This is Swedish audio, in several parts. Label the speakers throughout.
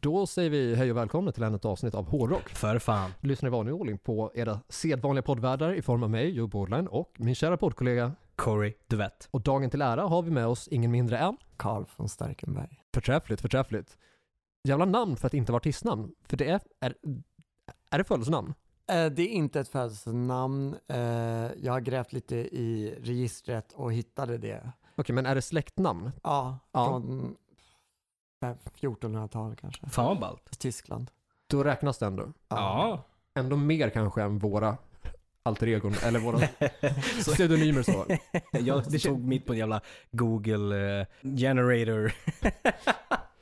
Speaker 1: Då säger vi hej och välkomna till ännu ett avsnitt av Hårdrock.
Speaker 2: För fan.
Speaker 1: Du Lyssnar i vanlig ordning på era sedvanliga poddvärdar i form av mig, Joe Bordline och min kära poddkollega.
Speaker 2: Corey Duvett.
Speaker 1: Och dagen till ära har vi med oss ingen mindre än
Speaker 3: Karl von Starkenberg.
Speaker 1: Förträffligt, förträffligt. Jävla namn för att inte vara artistnamn. För det är, är, är det födelsenamn?
Speaker 3: Eh, Det är inte ett födelsenamn. Eh, Jag har grävt lite i registret och hittade det.
Speaker 1: Okej, men är det släktnamn?
Speaker 3: Ja,
Speaker 1: Ja.
Speaker 3: från eh, 1400-talet kanske.
Speaker 2: Fan vad ballt.
Speaker 3: Tyskland.
Speaker 1: Då räknas det ändå.
Speaker 2: Ja.
Speaker 1: Ändå mer kanske än våra alter egon eller våra pseudonymer så.
Speaker 2: Jag det tog mitt på en jävla Google eh, generator.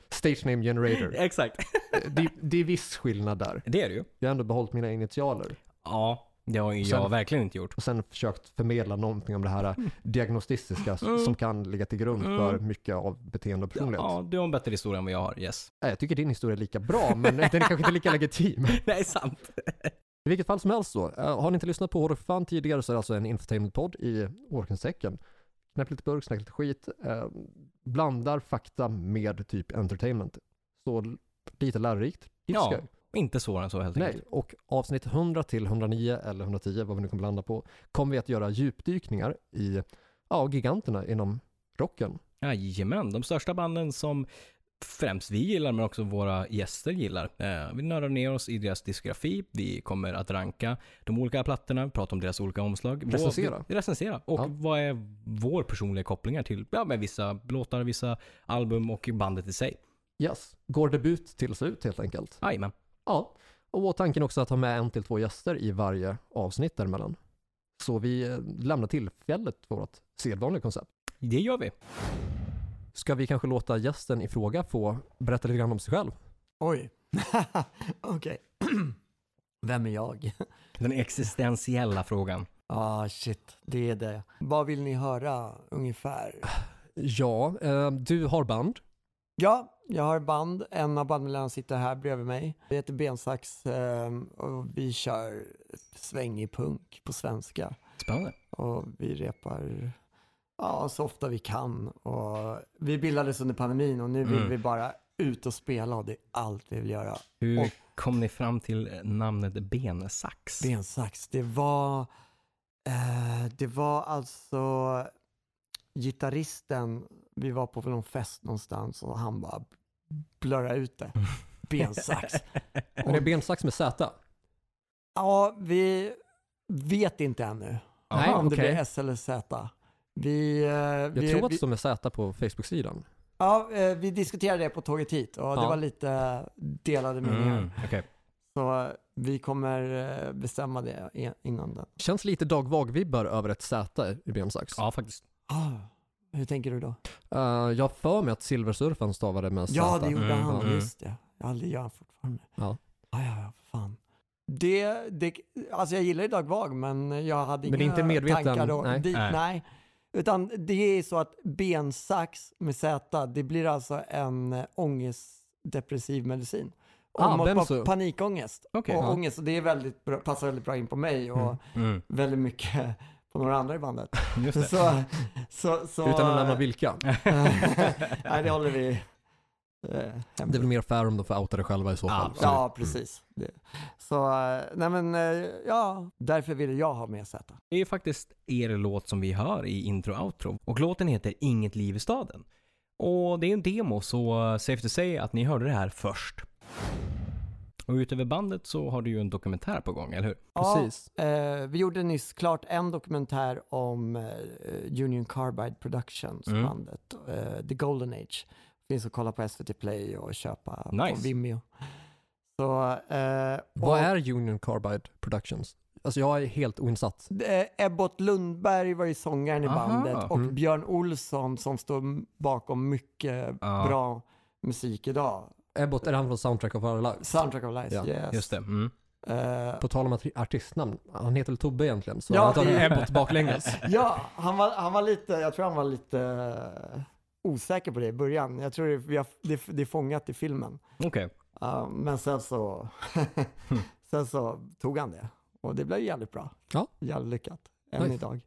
Speaker 1: Stage name generator.
Speaker 2: Exakt.
Speaker 1: Det, det är viss skillnad där.
Speaker 2: Det är det ju.
Speaker 1: Jag har ändå behållit mina initialer.
Speaker 2: Ja. Det har ju
Speaker 1: Sen-
Speaker 2: jag verkligen inte gjort.
Speaker 1: och sen försökt förmedla någonting om det här diagnostistiska s-
Speaker 2: Mm.
Speaker 1: som kan ligga till grund
Speaker 2: Mm.
Speaker 1: för mycket av beteende och personlighet.
Speaker 2: Ja, du har en bättre historia än vad jag har. Yes.
Speaker 1: Nej, Jag tycker din historia är lika bra, men den är kanske inte lika legitim.
Speaker 2: Nej, sant.
Speaker 1: I vilket fall som helst då, eh, har ni inte lyssnat på Hårdare för fan tidigare så är det alltså en infotainmentpodd i Orkensäcken. Knäpp lite burk, snack lite skit, eh, blandar fakta med typ entertainment. Så l- lite lärorikt, lite
Speaker 2: Ja,
Speaker 1: skoj.
Speaker 2: Inte svårare än så helt
Speaker 1: Nej,
Speaker 2: enkelt.
Speaker 1: och avsnitt 100 till 109 eller 110, vad vi nu kommer landa på, kommer vi att göra djupdykningar i ja, giganterna inom rocken.
Speaker 2: Jajamän, de största banden som främst vi gillar men också våra gäster gillar. Eh, vi nördar ner oss i deras diskografi. Vi kommer att ranka de olika plattorna, prata om deras olika omslag. Vår-
Speaker 1: Recensera.
Speaker 2: vi- recensera. Och
Speaker 1: Ja.
Speaker 2: vad är vår personliga kopplingar till ja, med vissa låtar, vissa album och bandet i sig.
Speaker 1: Yes, går debut tills ut helt enkelt.
Speaker 2: Jajamän.
Speaker 1: Ja, och tanken också att ha med en till två gäster i varje avsnitt däremellan. Så vi eh, lämnar tillfället för vårt sedvanliga koncept.
Speaker 2: Det gör vi.
Speaker 1: Ska vi kanske låta gästen i fråga få berätta lite grann om sig själv?
Speaker 3: Oj. Okej. Vem är jag?
Speaker 2: Den existentiella frågan.
Speaker 3: Ja, shit. Det är det. Vad vill ni höra ungefär?
Speaker 1: Ja, eh, du har band.
Speaker 3: Ja, jag har band. En av bandmedlemmarna sitter här bredvid mig. Vi heter Bensax eh, och vi kör svängig punk på svenska.
Speaker 2: Spännande.
Speaker 3: Och vi repar ja, så ofta vi kan. Och vi bildades under pandemin och nu vill
Speaker 2: Mm.
Speaker 3: vi bara ut och spela och det är allt vi vill göra.
Speaker 2: Hur
Speaker 3: Och-
Speaker 2: kom ni fram till namnet Bensax?
Speaker 3: Bensax, det var, eh, det var alltså gitarristen, vi var på någon fest någonstans och han bara blurrade ut det. Bensax.
Speaker 1: Men det är bensax med Z.
Speaker 3: Ja, vi vet inte ännu
Speaker 1: Nej,
Speaker 3: om det
Speaker 1: okej.
Speaker 3: blir S eller Z. Vi, eh,
Speaker 1: Jag
Speaker 3: vi,
Speaker 1: tror att det
Speaker 3: vi,
Speaker 1: står med Z på Facebook-sidan.
Speaker 3: ja, eh, vi diskuterade det på tåget hit och
Speaker 1: Ja.
Speaker 3: det var lite delade meningar.
Speaker 2: Mm, okej.
Speaker 3: Så eh, vi kommer eh, bestämma det i- innan den.
Speaker 1: Känns lite Dag Vag-vibbar över ett Z i bensax.
Speaker 2: Ja, faktiskt.
Speaker 3: Ah, hur tänker du då?
Speaker 1: Eh, jag har för mig att silversurfen stavade med Z.
Speaker 3: Ja, det gjorde
Speaker 2: Mm,
Speaker 3: han.
Speaker 2: mm.
Speaker 3: Just det. Ja, det gör han fortfarande.
Speaker 1: Ja.
Speaker 3: Ja, ja, ja, fan. Det, det, alltså jag gillar ju Dag Vag, men jag hade
Speaker 1: Men det är
Speaker 3: inga
Speaker 1: inte medveten-
Speaker 3: tankar då,
Speaker 1: nej.
Speaker 3: dit.
Speaker 2: Nej.
Speaker 3: Nej. Utan det är så att bensax med Z, det blir alltså en eh, ångestdepressiv medicin.
Speaker 1: Ah,
Speaker 3: Om man
Speaker 1: benzo.
Speaker 3: har panikångest
Speaker 2: Okej,
Speaker 3: och
Speaker 1: ja.
Speaker 3: ångest, och det är väldigt bra, passar väldigt bra in på mig och
Speaker 2: Mm,
Speaker 3: väldigt mycket på några andra i bandet.
Speaker 2: just
Speaker 3: Så,
Speaker 2: det.
Speaker 3: så, så,
Speaker 1: Utan att nämna vilka.
Speaker 3: nej, det håller vi eh, hemligt.
Speaker 1: Det är väl mer fair om de får outa det själva i så fall.
Speaker 2: Absolut. Mm.
Speaker 3: Ja, precis. Det. Så, eh, nej men, eh, ja, därför ville jag ha med Z.
Speaker 2: Det är ju faktiskt er låt som vi hör i intro och outro. Och låten heter Inget liv i staden. Och det är en demo så eh, safe to say att ni hörde det här först. Och utöver bandet så har du ju en dokumentär på gång, eller hur?
Speaker 1: Precis.
Speaker 3: Ja, eh, vi gjorde nyss klart en dokumentär om eh, Union Carbide Productions,
Speaker 2: Mm.
Speaker 3: bandet, eh, The Golden Age. Finns att kolla på SVT Play och köpa
Speaker 2: Nice.
Speaker 3: på Vimeo. Så, eh,
Speaker 1: Vad
Speaker 3: och-
Speaker 1: är Union Carbide Productions? Alltså jag är helt oinsatt.
Speaker 3: Det- eh, Ebbot Lundberg var ju sångaren i
Speaker 2: Aha.
Speaker 3: bandet och
Speaker 1: Mm.
Speaker 3: Björn Olsson som står m- bakom mycket
Speaker 2: Ja.
Speaker 3: bra musik idag.
Speaker 1: Ebbot, är det han från Soundtrack of Our Lives?
Speaker 3: Soundtrack of Life,
Speaker 1: Ja,
Speaker 3: yes.
Speaker 2: Just det. Mm.
Speaker 3: Eh,
Speaker 1: På tal om att- artistnamn, han heter väl Tobbe egentligen? Så
Speaker 3: Ja,
Speaker 1: han tar
Speaker 3: det-
Speaker 1: Ebbot baklänges.
Speaker 3: ja, han var, han var lite, jag tror han var lite eh, osäker på det i början. Jag tror det, vi har, det, det är fångat i filmen.
Speaker 2: Okej.
Speaker 3: Ja, men sen så, sen så tog han det och det blev jävligt bra.
Speaker 1: Ja.
Speaker 3: Jävligt lyckat. Än
Speaker 1: Nice.
Speaker 3: idag.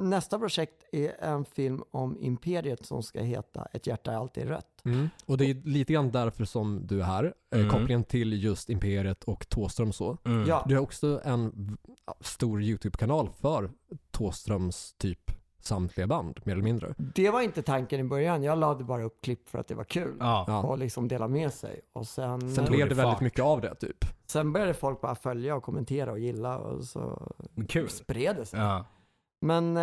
Speaker 3: Nästa projekt är en film om Imperiet som ska heta Ett hjärta är alltid rött.
Speaker 1: Mm. Och det är lite grann därför som du är här. Eh,
Speaker 2: Mm.
Speaker 1: Kopplingen till just Imperiet och Thåström så.
Speaker 2: Mm.
Speaker 3: Ja,
Speaker 1: Du har också en v- stor YouTube-kanal för Thåströms typ samtliga band, mer eller mindre.
Speaker 3: det var inte tanken i början. Jag lade bara upp klipp för att det var kul.
Speaker 2: Ja.
Speaker 1: Ja.
Speaker 3: Och liksom dela med sig. Och sen,
Speaker 1: Sen
Speaker 3: sen,
Speaker 2: tog
Speaker 1: blev det
Speaker 2: det fart.
Speaker 1: väldigt mycket av det typ.
Speaker 3: började folk bara följa och kommentera och gilla och så
Speaker 2: Kul.
Speaker 3: spred det sig.
Speaker 2: Ja.
Speaker 3: Men eh,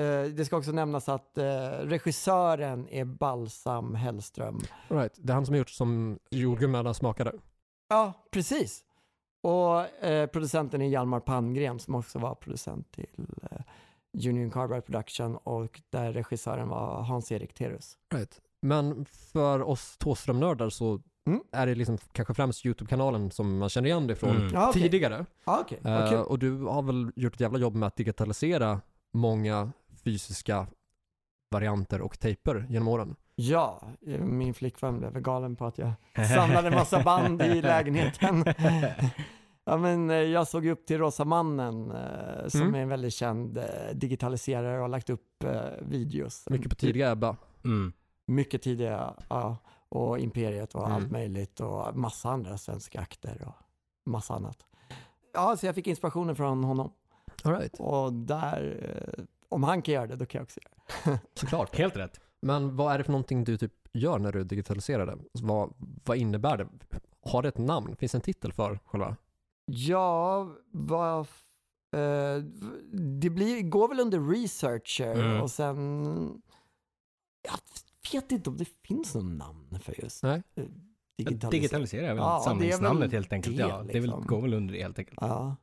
Speaker 3: eh, det ska också nämnas att eh, regissören är Balsam Hellström.
Speaker 1: Right. Det är han som har gjort som jordgubbarna smakade.
Speaker 3: Ja, precis. Och eh, producenten är Hjalmar Palmgren som också var producent till eh, Union Carbide Production och där regissören var Hans-Erik Terus.
Speaker 1: Right. Men för oss Thåströmnördar så
Speaker 3: Mm.
Speaker 1: är det liksom kanske främst YouTube-kanalen som man känner igen det från
Speaker 2: Mm.
Speaker 3: Ja, okej.
Speaker 1: tidigare.
Speaker 3: Ah, okej. Vad
Speaker 1: Eh,
Speaker 3: kul.
Speaker 1: och du har väl gjort ett jävla jobb med att digitalisera många fysiska varianter och tejper genom
Speaker 3: Mm.
Speaker 1: åren.
Speaker 3: Ja, eh, min flickvän blev galen på att jag samlade en massa band i lägenheten. Ja, men, eh, jag såg ju upp till Rosa Mannen eh, som
Speaker 1: Mm.
Speaker 3: är en väldigt känd eh, digitaliserare och har lagt upp eh, videos.
Speaker 1: Mycket på tidiga Ebba.
Speaker 2: Mm.
Speaker 3: Mycket tidigare, ja. Och Imperiet och
Speaker 1: Mm.
Speaker 3: allt möjligt och massa andra svenska akter och massa annat. Ja, så jag fick inspirationen från honom.
Speaker 1: All right.
Speaker 3: Och där, eh, om han kan göra det, då kan jag också göra det.
Speaker 1: Såklart.
Speaker 2: Helt rätt.
Speaker 1: Men vad är det för någonting du typ gör när du digitaliserar det? Alltså, vad, vad innebär det? Har det ett namn? Finns det en titel för själva?
Speaker 3: Ja, vad... f- eh, det blir, går väl under researcher
Speaker 2: Mm.
Speaker 3: och sen... Jag vet inte om det finns något namn för just
Speaker 1: Nej.
Speaker 3: eh,
Speaker 2: Digitalisera,
Speaker 3: digitalisering.
Speaker 2: är väl
Speaker 3: Ja, det är väl
Speaker 2: samlingsnamnet helt enkelt.
Speaker 3: det,
Speaker 2: ja, det är väl,
Speaker 3: liksom.
Speaker 2: går väl under det helt enkelt.
Speaker 3: Ja.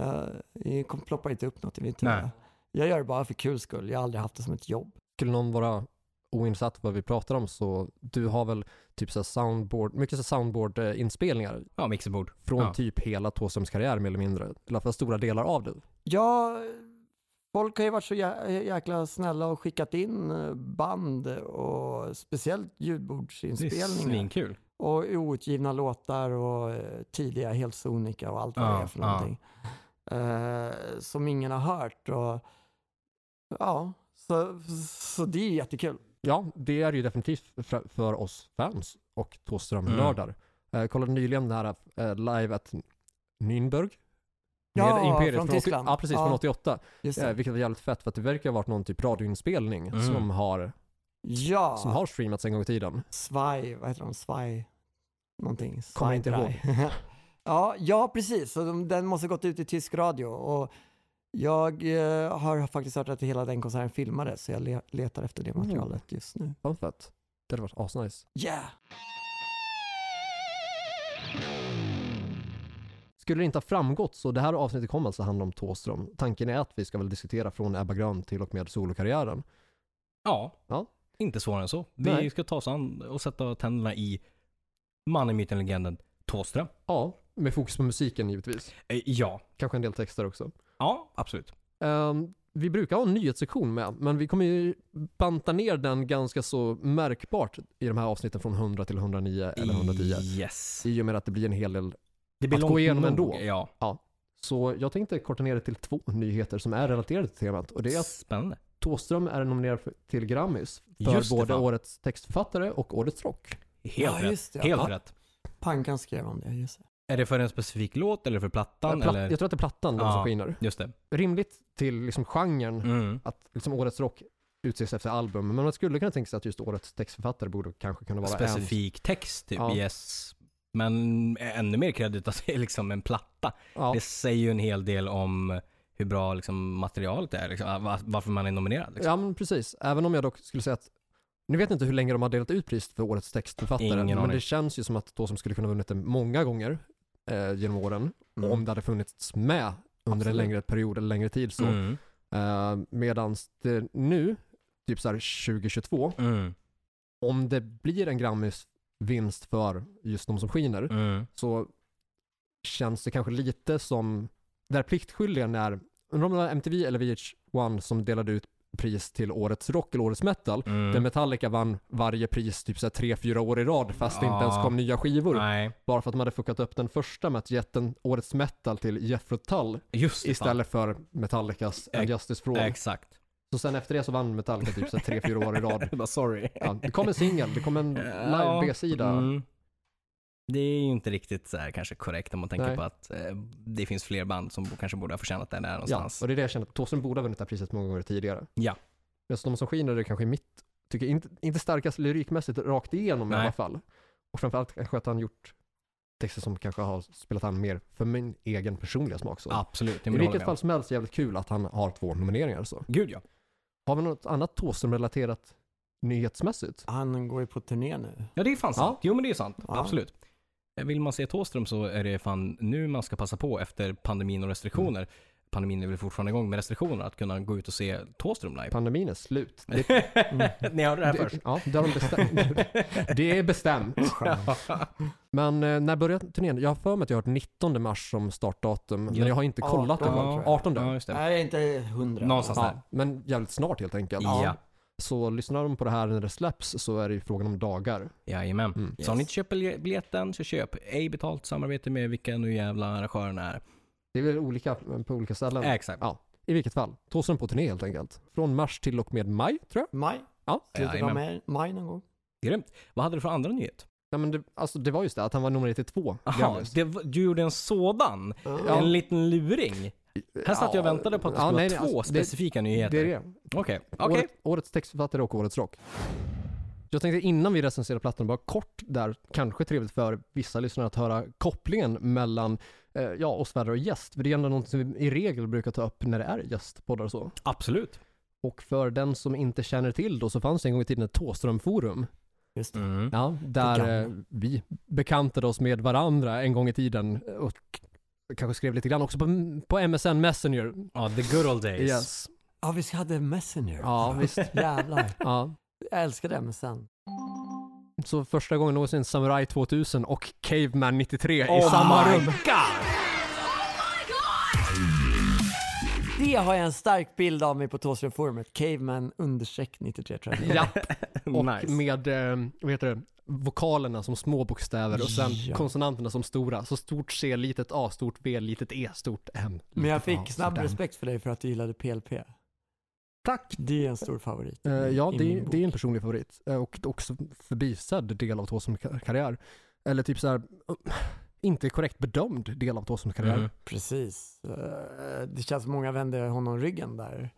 Speaker 3: Eh, Jag kom- ploppar inte upp något i mitt
Speaker 2: Nej.
Speaker 3: huvud. Jag gör det bara för kul skull. Jag har aldrig haft det som ett jobb.
Speaker 1: Skulle någon vara oinsatt vad vi pratar om så du har väl typ så här soundboard, mycket så här soundboard-inspelningar
Speaker 2: Ja, mixerbord.
Speaker 1: från
Speaker 2: Ja.
Speaker 1: typ hela Thåströms karriär mer eller mindre. I alla fall stora delar av det.
Speaker 3: Ja, folk har ju varit så jä- jäkla snälla och skickat in eh, band och speciellt
Speaker 2: Det är
Speaker 3: ljudbordsinspelningar.
Speaker 2: svinkul.
Speaker 3: Och outgivna låtar och eh, tidiga helsonika och allt vad
Speaker 2: Ja,
Speaker 3: det är för
Speaker 2: ja.
Speaker 3: någonting. Eh, som ingen har hört. Och, ja, så, så det är jättekul.
Speaker 1: Ja, det är det ju definitivt för, för oss fans och Thåström-nördar.
Speaker 3: Mm.
Speaker 1: Jag kollade nyligen det här eh, live at Nürnberg. Med
Speaker 3: Ja,
Speaker 1: Imperiet
Speaker 3: från
Speaker 1: från åt-
Speaker 3: Tyskland.
Speaker 1: Ja, precis.
Speaker 3: Ja.
Speaker 1: Från 88.
Speaker 3: Just
Speaker 1: Eh,
Speaker 3: det.
Speaker 1: vilket var jävligt fett för att det verkar ha varit någon typ radioinspelning
Speaker 2: Mm.
Speaker 1: som, har,
Speaker 3: Ja.
Speaker 1: som har streamats en gång i tiden.
Speaker 3: Svaj, vad heter de? Svaj någonting.
Speaker 1: Kommer inte
Speaker 3: Svajdraj. ja, ja, precis. Så de, den måste gått ut i tysk radio. Och jag eh, har faktiskt hört att hela den konserten filmades så jag le- letar efter det
Speaker 1: Mm.
Speaker 3: materialet just nu.
Speaker 1: Fan fett. Det hade varit asnice.
Speaker 3: Yeah!
Speaker 1: Skulle det inte ha framgått så det här avsnittet kommer alltså handla om Thåström. Tanken är att vi ska väl diskutera från Ebba Grön till och med solokarriären.
Speaker 2: Ja.
Speaker 1: Ja.
Speaker 2: Inte svårare än så. Vi
Speaker 1: Nej.
Speaker 2: ska ta oss an och sätta tänderna i mannen, myten, legenden Thåström.
Speaker 1: Ja, med fokus på musiken givetvis.
Speaker 2: Eh, Ja.
Speaker 1: Kanske en del texter också.
Speaker 2: Ja, absolut.
Speaker 1: Ehm, vi brukar ha en nyhetssektion med, men vi kommer ju banta ner den ganska så märkbart i de här avsnitten från 100 till 109 eller 110.
Speaker 2: Yes.
Speaker 1: I och med att det blir en hel del.
Speaker 2: Det blir
Speaker 1: Att gå
Speaker 2: långt
Speaker 1: igenom
Speaker 2: nog.
Speaker 1: ändå.
Speaker 2: Ja.
Speaker 1: Så jag tänkte korta ner det till två nyheter som är relaterade till temat. Och det är att
Speaker 2: Spännande.
Speaker 1: Thåström är nominerad för- till Grammis för
Speaker 2: Just det,
Speaker 1: både
Speaker 2: fan.
Speaker 1: årets textförfattare och årets rock.
Speaker 2: Helt
Speaker 3: ja,
Speaker 2: rätt.
Speaker 3: just det.
Speaker 2: Helt
Speaker 3: ja.
Speaker 2: rätt.
Speaker 3: Pankan skrev om det, just det.
Speaker 2: Är det för en specifik låt eller för plattan?
Speaker 1: Platt-
Speaker 2: eller?
Speaker 1: Jag tror att det är plattan de
Speaker 2: Ja.
Speaker 1: som skiner.
Speaker 2: Just det.
Speaker 1: Rimligt till liksom genren
Speaker 2: Mm.
Speaker 1: att liksom årets rock utses efter album, men man skulle kunna tänka sig att just årets textförfattare borde kanske kunna vara en
Speaker 2: Specifik text typ.
Speaker 1: Ja.
Speaker 2: Yes. Men ännu mer kredit att det är liksom en platta.
Speaker 1: Ja,
Speaker 2: Det säger ju en hel del om hur bra liksom, materialet är. Liksom, va- varför man är nominerad. Liksom.
Speaker 1: ja men precis. Även om jag dock skulle säga att nu vet jag inte hur länge de har delat ut priset för årets textförfattare,
Speaker 2: Ingen
Speaker 1: men
Speaker 2: aning.
Speaker 1: det känns ju som att då som skulle kunna ha vunnit det många gånger eh, genom åren.
Speaker 3: Mm.
Speaker 1: Om det hade funnits med under en
Speaker 3: Absolut.
Speaker 1: längre period eller längre tid så.
Speaker 2: Mm.
Speaker 1: Eh, Medan det nu, typ så här 2022,
Speaker 2: Mm.
Speaker 1: om det blir en Grammis-vinst för just de som skiner
Speaker 2: Mm.
Speaker 1: så känns det kanske lite som, där pliktskyldiga när, undrar om det var MTV eller VH1 som delade ut pris till årets rock eller årets metal. Där
Speaker 2: Mm.
Speaker 1: Metallica vann varje pris typ 3-4 år i rad fast det inte
Speaker 2: Ja.
Speaker 1: ens kom nya skivor.
Speaker 2: Nej,
Speaker 1: Bara för att man hade fuckat upp den första med att gett den årets metal till Jethro Tull
Speaker 2: just det.
Speaker 1: istället för Metallicas
Speaker 2: Ex-
Speaker 1: And Justice for
Speaker 2: fan.
Speaker 1: All.
Speaker 2: Exakt.
Speaker 1: Så sen efter det så vann Metallica typ 3-4 år i rad.
Speaker 2: Bara sorry.
Speaker 1: Ja, det kom en singel, det kom en live
Speaker 2: Ja,
Speaker 1: B-sida.
Speaker 2: mm. Det är ju inte riktigt så här kanske korrekt om man tänker
Speaker 1: Nej.
Speaker 2: på att eh, det finns fler band som kanske borde ha förtjänat det där
Speaker 1: Ja,
Speaker 2: någonstans.
Speaker 1: och det är det jag känner. Thåström borde ha vunnit det här priset många gånger tidigare.
Speaker 2: Ja.
Speaker 1: Just de som skiner är kanske mitt, tycker jag, inte, inte starkast lyrikmässigt rakt igenom i
Speaker 2: Nej.
Speaker 1: alla fall. Och framförallt kanske att han gjort texter som kanske har spelat han mer för min egen personliga smak. Så.
Speaker 2: Absolut,
Speaker 1: I
Speaker 2: det håller jag
Speaker 1: vilket
Speaker 2: med
Speaker 1: fall
Speaker 2: om.
Speaker 1: som helst jävligt kul att han har två nomineringar. Så.
Speaker 2: Gud ja.
Speaker 1: Har vi något annat Thåström-relaterat nyhetsmässigt?
Speaker 3: Han går ju på turné nu.
Speaker 2: Ja, det är fan sant. Jo, men det är sant.
Speaker 3: Ja.
Speaker 2: Absolut. Eh, Vill man se Thåström så är det fan nu man ska passa på efter pandemin och restriktioner.
Speaker 1: Mm.
Speaker 2: Pandemin är väl fortfarande igång med restriktioner, att kunna gå ut och se Thåström live.
Speaker 1: Pandemin är slut. Det, mm.
Speaker 2: Ni hörde det här först.
Speaker 1: det, ja, det, har de bestämt. det är bestämt. Men eh, när började turnén? Jag har för mig att jag har hört 19 mars som startdatum,
Speaker 2: Ja.
Speaker 1: men jag har inte kollat det.
Speaker 3: 18, tror
Speaker 2: Ja,
Speaker 3: jag.
Speaker 1: 18
Speaker 2: ja, just det.
Speaker 3: Nej, inte hundra.
Speaker 2: Någonstans där.
Speaker 1: Ja, men jävligt snart helt enkelt.
Speaker 2: Ja.
Speaker 1: Så lyssnar de på det här när det släpps så är det ju frågan om dagar.
Speaker 2: Jajamän.
Speaker 1: Mm.
Speaker 2: Så om ni inte köper bilje- biljetten så köp. Ej betalt samarbete med vilka nu jävla arrangörerna är.
Speaker 1: Det är väl olika mm, på olika ställen.
Speaker 2: Exakt.
Speaker 1: Ja, i vilket fall. Thåström på turné helt enkelt. Från mars till och med maj tror jag.
Speaker 3: Maj.
Speaker 1: Ja.
Speaker 3: Slutet
Speaker 2: Jajamän.
Speaker 3: av maj, maj någon gång.
Speaker 2: Grymt. Vad hade du för andra nyhet?
Speaker 1: Ja, men det, alltså, det var just det, att han var nominerad till två
Speaker 2: Jaha,
Speaker 1: Grammys.
Speaker 2: det var- du gjorde en sådan?
Speaker 1: Ja.
Speaker 2: En liten luring? Här satt jag och väntade på att det
Speaker 1: Ja,
Speaker 2: skulle
Speaker 1: nej,
Speaker 2: vara
Speaker 1: nej,
Speaker 2: två
Speaker 1: alltså, det-
Speaker 2: specifika
Speaker 1: Det är
Speaker 2: nyheter.
Speaker 1: det.
Speaker 2: Okej, okej.
Speaker 1: Året, årets textförfattare och årets rock. Jag tänkte innan vi recenserar plattan, bara kort där, kanske trevligt för vissa lyssnare att höra kopplingen mellan eh, ja, oss värdar och gäst. För det är ändå något som vi i regel brukar ta upp när det är gästpoddar och så.
Speaker 2: Absolut.
Speaker 1: Och för den som inte känner till då så fanns det en gång i tiden ett Thåströmforum.
Speaker 3: Just det.
Speaker 2: Mm.
Speaker 1: Ja, där eh,
Speaker 3: gamla.
Speaker 1: vi bekantade oss med varandra en gång i tiden och kanske skrev lite grann också på, på MSN Messenger.
Speaker 2: Ja, the good old days.
Speaker 1: Yes.
Speaker 3: Ja, vi hade Messenger.
Speaker 1: Ja, visst.
Speaker 3: Jävlar.
Speaker 1: Ja.
Speaker 3: Jag älskar det, men sen.
Speaker 1: Så första gången någonsin Samurai 2000 och Caveman 93 i
Speaker 2: Oh
Speaker 1: samma
Speaker 2: my
Speaker 1: rum. Oh
Speaker 2: God.
Speaker 3: Det har jag en stark bild av mig på Thåströmforumet. Caveman understreck 93 tror jag.
Speaker 1: Ja, och
Speaker 2: nice.
Speaker 1: med eh, vad heter det, vokalerna som små bokstäver och sen
Speaker 3: Ja.
Speaker 1: konsonanterna som stora. Så stort C, litet A, stort B, litet E, stort M.
Speaker 3: Men jag
Speaker 1: litet A,
Speaker 3: fick snabb
Speaker 1: stort M.
Speaker 3: respekt för dig för att du gillade PLP.
Speaker 1: Tack!
Speaker 3: Det är en stor favorit. i
Speaker 1: Eh,
Speaker 3: min-
Speaker 1: ja,
Speaker 3: i
Speaker 1: det,
Speaker 3: min bok.
Speaker 1: det är en personlig favorit eh, och också förbisedd del av Thåströms kar- karriär. Eller typ så här, eh, inte korrekt bedömd del av Thåströms karriär.
Speaker 2: Mm.
Speaker 3: Precis. Eh, Det känns som många vände honom ryggen där.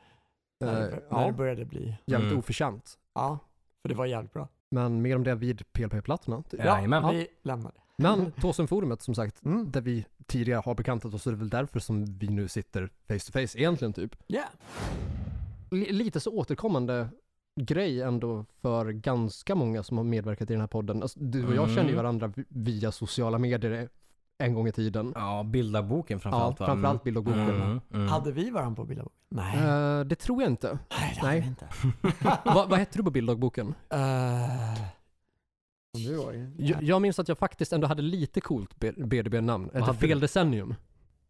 Speaker 3: När,
Speaker 1: Eh,
Speaker 3: det- när
Speaker 1: ja,
Speaker 3: det började bli.
Speaker 1: jävligt
Speaker 2: Mm.
Speaker 1: oförtjänt.
Speaker 3: Ja, för det var jävligt bra.
Speaker 1: Men mer om det vid PLP-plattorna. typ.
Speaker 2: Jajamän.
Speaker 3: vi lämnar det.
Speaker 2: Mm.
Speaker 1: Men Thåströmforumet som sagt,
Speaker 3: Mm.
Speaker 1: där vi tidigare har bekantat oss, så är det väl därför som vi nu sitter face to face egentligen typ.
Speaker 3: Yeah.
Speaker 1: L- lite så återkommande grej ändå för ganska många som har medverkat i den här podden. Alltså, du och jag
Speaker 2: Mm.
Speaker 1: känner ju varandra vi- via sociala medier en gång i tiden.
Speaker 2: Ja, bilda boken
Speaker 1: Ja,
Speaker 2: framförallt va?
Speaker 1: framförallt bild och Google.
Speaker 2: Mm. Mm. Mm.
Speaker 3: Hade vi varandra på bildagbok? Nej,
Speaker 1: Eh, det tror jag inte.
Speaker 3: nej det hade
Speaker 1: nej.
Speaker 3: vi inte.
Speaker 1: Va, vad hette du på bilddagboken?
Speaker 3: Eh, Om du var-
Speaker 1: Jag, jag minns att jag faktiskt ändå hade lite coolt B- BDB-namn. Eller
Speaker 2: hade
Speaker 1: fel
Speaker 2: du?
Speaker 1: decennium.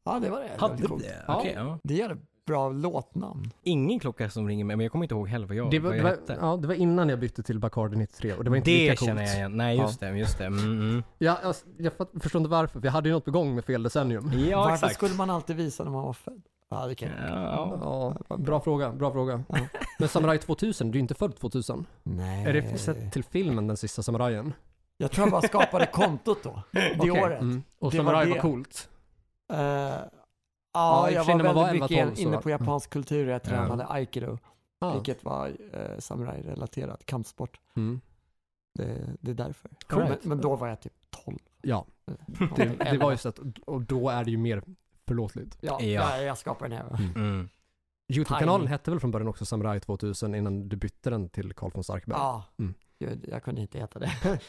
Speaker 3: Ja, det var det.
Speaker 2: Hade det?
Speaker 3: det? var coolt.
Speaker 2: Okej,
Speaker 1: Ja.
Speaker 2: ja.
Speaker 3: Det är ett bra låtnamn.
Speaker 2: Ingen klocka som ringer mig, men jag kommer inte ihåg heller vad jag,
Speaker 1: det, var,
Speaker 2: vad
Speaker 1: det,
Speaker 2: jag
Speaker 1: var,
Speaker 2: hette.
Speaker 1: ja, det var innan jag bytte till Bacardi 93 och det var inte
Speaker 2: det
Speaker 1: lika coolt.
Speaker 2: känner jag igen. Nej, just det. Just det. Mm, mm.
Speaker 1: Ja, jag, jag fatt- förstår inte varför, för jag hade ju något på gång med fel decennium.
Speaker 2: Ja,
Speaker 3: Varför
Speaker 2: exakt.
Speaker 3: skulle man alltid visa när man var född? Ja, det kan jag.
Speaker 2: Ja,
Speaker 1: Ja, bra fråga, bra fråga. Men Samurai 2000, du är ju inte född 2000.
Speaker 3: Nej.
Speaker 1: Är det sett till filmen Den sista samurajen?
Speaker 3: Jag tror jag bara skapade kontot då. Det
Speaker 1: Okej,
Speaker 3: året.
Speaker 1: mm. Och
Speaker 3: Det
Speaker 1: Samurai
Speaker 3: var
Speaker 1: var,
Speaker 3: det.
Speaker 1: coolt.
Speaker 3: Eh,
Speaker 1: Ja,
Speaker 3: ja,
Speaker 1: i och för
Speaker 3: jag
Speaker 1: sig
Speaker 3: var
Speaker 1: när man var 11-12
Speaker 3: väldigt mycket
Speaker 1: så
Speaker 3: inne
Speaker 1: var-
Speaker 3: på japansk kultur. Jag tränade aikido,
Speaker 1: Ah.
Speaker 3: vilket var eh, samurajrelaterat kampsport.
Speaker 1: Mm.
Speaker 3: Det, det är därför.
Speaker 1: Coolt.
Speaker 3: Men, men då var jag typ 12.
Speaker 1: Ja, det, det var ju så att, och då är det ju mer förlåtligt.
Speaker 3: Ja,
Speaker 2: Ja.
Speaker 3: Jag, jag skapade den här.
Speaker 2: mm.
Speaker 1: Youtube-kanalen
Speaker 3: Timing.
Speaker 1: hette väl från början också Samurai 2000 innan du bytte den till Carl von Starkberg.
Speaker 3: Ja,
Speaker 1: Mm.
Speaker 3: jag, jag kunde inte heta det.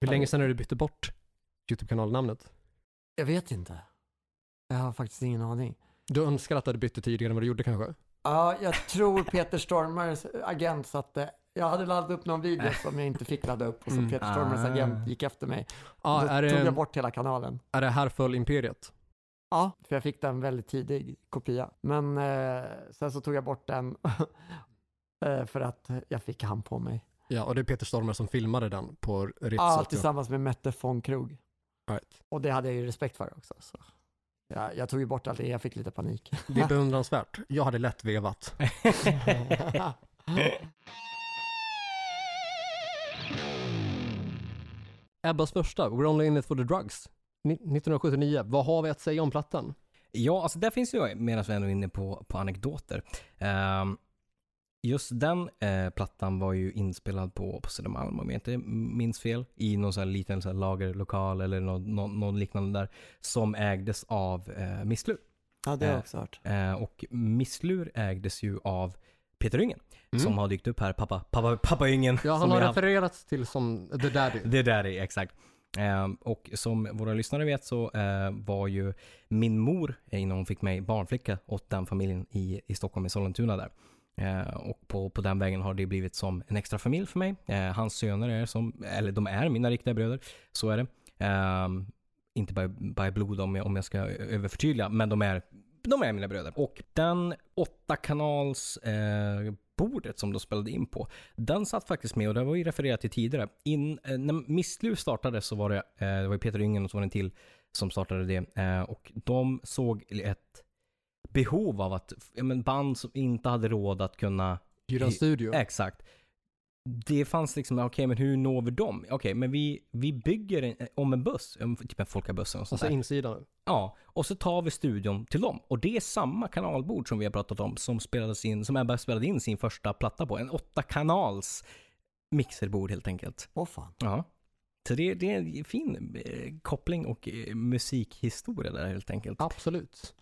Speaker 1: Hur länge sedan är det du bytte bort Youtube-kanalnamnet?
Speaker 3: Jag vet inte. Jag har faktiskt ingen aning.
Speaker 1: Du önskar att du hade bytt det tidigare än vad du gjorde kanske?
Speaker 3: Ja, jag tror Peter Stormares agent satte... Jag hade laddat upp någon video som jag inte fick ladda upp och så
Speaker 1: Mm.
Speaker 3: Peter Stormares
Speaker 2: Ah.
Speaker 3: agent gick efter mig.
Speaker 1: Ja,
Speaker 3: då
Speaker 1: Ah, är
Speaker 3: tog jag
Speaker 1: det,
Speaker 3: bort hela kanalen.
Speaker 1: är det här föll imperiet?
Speaker 3: Ja, för jag fick den väldigt tidig kopia. Men eh, sen så tog jag bort den eh, för att jag fick han på mig.
Speaker 1: Ja, och det är Peter Stormare som filmade den på Ritz.
Speaker 3: Ja,
Speaker 1: att jag-
Speaker 3: tillsammans med Mette von Krog.
Speaker 1: Right.
Speaker 3: Och det hade jag ju respekt för också. Så. Ja, jag tog ju bort allt det, jag fick lite panik.
Speaker 1: Det är beundransvärt. Jag hade lätt vevat. Ebbas första, We're Only In It For The Drugs, ni- 1979. Vad har vi att säga om plattan?
Speaker 2: Ja, alltså där finns ju, medan vi ändå är inne på, på anekdoter. Ehm, just den eh, plattan var ju inspelad på, på Södermalm om jag inte minns fel. I någon sån här liten så här lagerlokal eller någon, någon, någon liknande där. Som ägdes av eh, Misslur.
Speaker 3: ja, det har jag också hört.
Speaker 2: Eh, och Misslur ägdes ju av Peter Yngen.
Speaker 1: Mm.
Speaker 2: Som har dykt upp här, pappa, pappa, pappa Yngen.
Speaker 1: Ja,
Speaker 2: som
Speaker 1: han
Speaker 2: vi
Speaker 1: har
Speaker 2: haft.
Speaker 1: refererats till som The Daddy.
Speaker 2: Det där är exakt. Ehm, Och som våra lyssnare vet så eh, var ju min mor, eh, innan hon fick mig, barnflicka åt den familjen i, i Stockholm, i Sollentuna där. Eh, Och på, på den vägen har det blivit som en extra familj för mig. Eh, Hans söner är som, eller de är mina riktiga bröder, så är det. Ehm, Inte by, by blod om jag, om jag ska ö- överförtydliga, men de är, de är mina bröder. Och den åtta kanals eh, bordet som de spelade in på, den satt faktiskt med och det var ju refererat till tidigare. In, eh, när Misslu startade så var det, eh, det var ju Peter Yngen och så var det en till som startade det. Eh, och de såg ett behov av att, ja, men band som inte hade råd att kunna
Speaker 1: Hyra en studio.
Speaker 2: Exakt. Det fanns liksom, okej men hur når vi dem? Okej men vi, vi bygger en, eh, om en buss, en- typ en folkabuss eller något sånt
Speaker 1: Alltså
Speaker 2: där.
Speaker 1: insidan.
Speaker 2: Ja, och så tar vi studion till dem. Och det är samma kanalbord som vi har pratat om som spelades in, som Ebba spelade in sin första platta på. En åtta kanals mixerbord helt enkelt.
Speaker 3: Åh fan.
Speaker 2: Ja. Så det, det är en fin eh, koppling och eh, musikhistoria där helt enkelt.
Speaker 1: Absolut.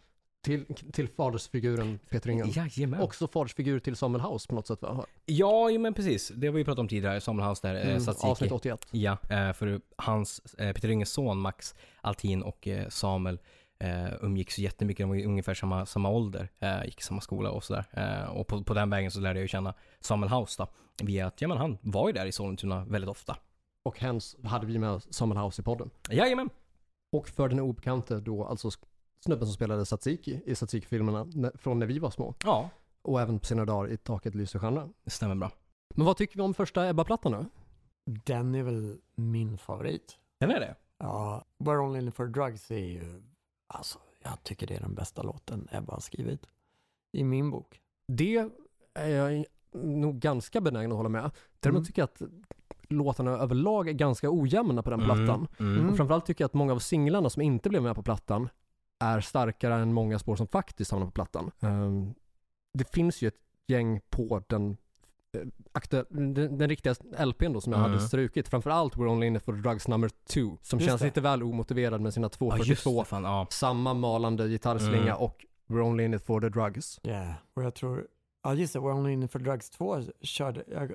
Speaker 1: Till, till fadersfiguren Peter Ingen.
Speaker 2: Jajamän.
Speaker 1: Också fadersfigur till Samuel House på något sätt va?
Speaker 2: ja, jo, men precis. Det har vi ju pratat om tidigare. Samuel House där, mm,
Speaker 1: Mm,
Speaker 2: Satsiki.
Speaker 1: avsnitt 81.
Speaker 2: Ja, eh, för hans, eh, Peter Ynges son Max Altin och eh, Samuel eh, umgicks ju jättemycket. De var ju ungefär samma, samma ålder, eh, gick i samma skola och sådär. Eh, Och på, på den vägen så lärde jag ju känna Samuel House då. Via att, ja men han var ju där i Sollentuna väldigt ofta.
Speaker 1: Och hens hade vi med Samuel House i podden.
Speaker 2: Jajamän!
Speaker 1: Och för den obekante då, alltså sk- snubben som spelade Satsiki i Satsiki-filmerna när- från när vi var små.
Speaker 2: Ja,
Speaker 1: Och även på sina dagar i Taket lyser stjärnan.
Speaker 2: det stämmer bra.
Speaker 1: Men vad tycker vi om första Ebba-plattan då?
Speaker 3: Den är väl min favorit.
Speaker 2: Den är det.
Speaker 3: Ja, We're Only In It For Drugs är ju, alltså jag tycker det är den bästa låten Ebba har skrivit. I min bok.
Speaker 1: Det är jag nog ganska benägen att hålla med. Däremot
Speaker 3: Mm.
Speaker 1: tycker jag att låtarna överlag är ganska ojämna på den plattan.
Speaker 2: Mm. Mm.
Speaker 1: Och framförallt tycker jag att många av singlarna som inte blev med på plattan är starkare än många spår som faktiskt hamnar på plattan. Ehm, det finns ju ett gäng på den, eh, aktu- den, den riktiga LPn då som jag
Speaker 2: Mm.
Speaker 1: hade strukit. Framförallt We're Only In It For The Drugs Number 2 som
Speaker 3: Just
Speaker 1: känns
Speaker 3: det.
Speaker 1: lite väl omotiverad med sina
Speaker 2: Ja, just
Speaker 1: 2.42.
Speaker 2: det. Fan, ja.
Speaker 1: samma malande gitarrslinga
Speaker 2: Mm.
Speaker 1: och We're Only In It For The Drugs.
Speaker 3: Yeah. Och jag tror, ja just det, We're Only In It For Drugs 2 körde, jag,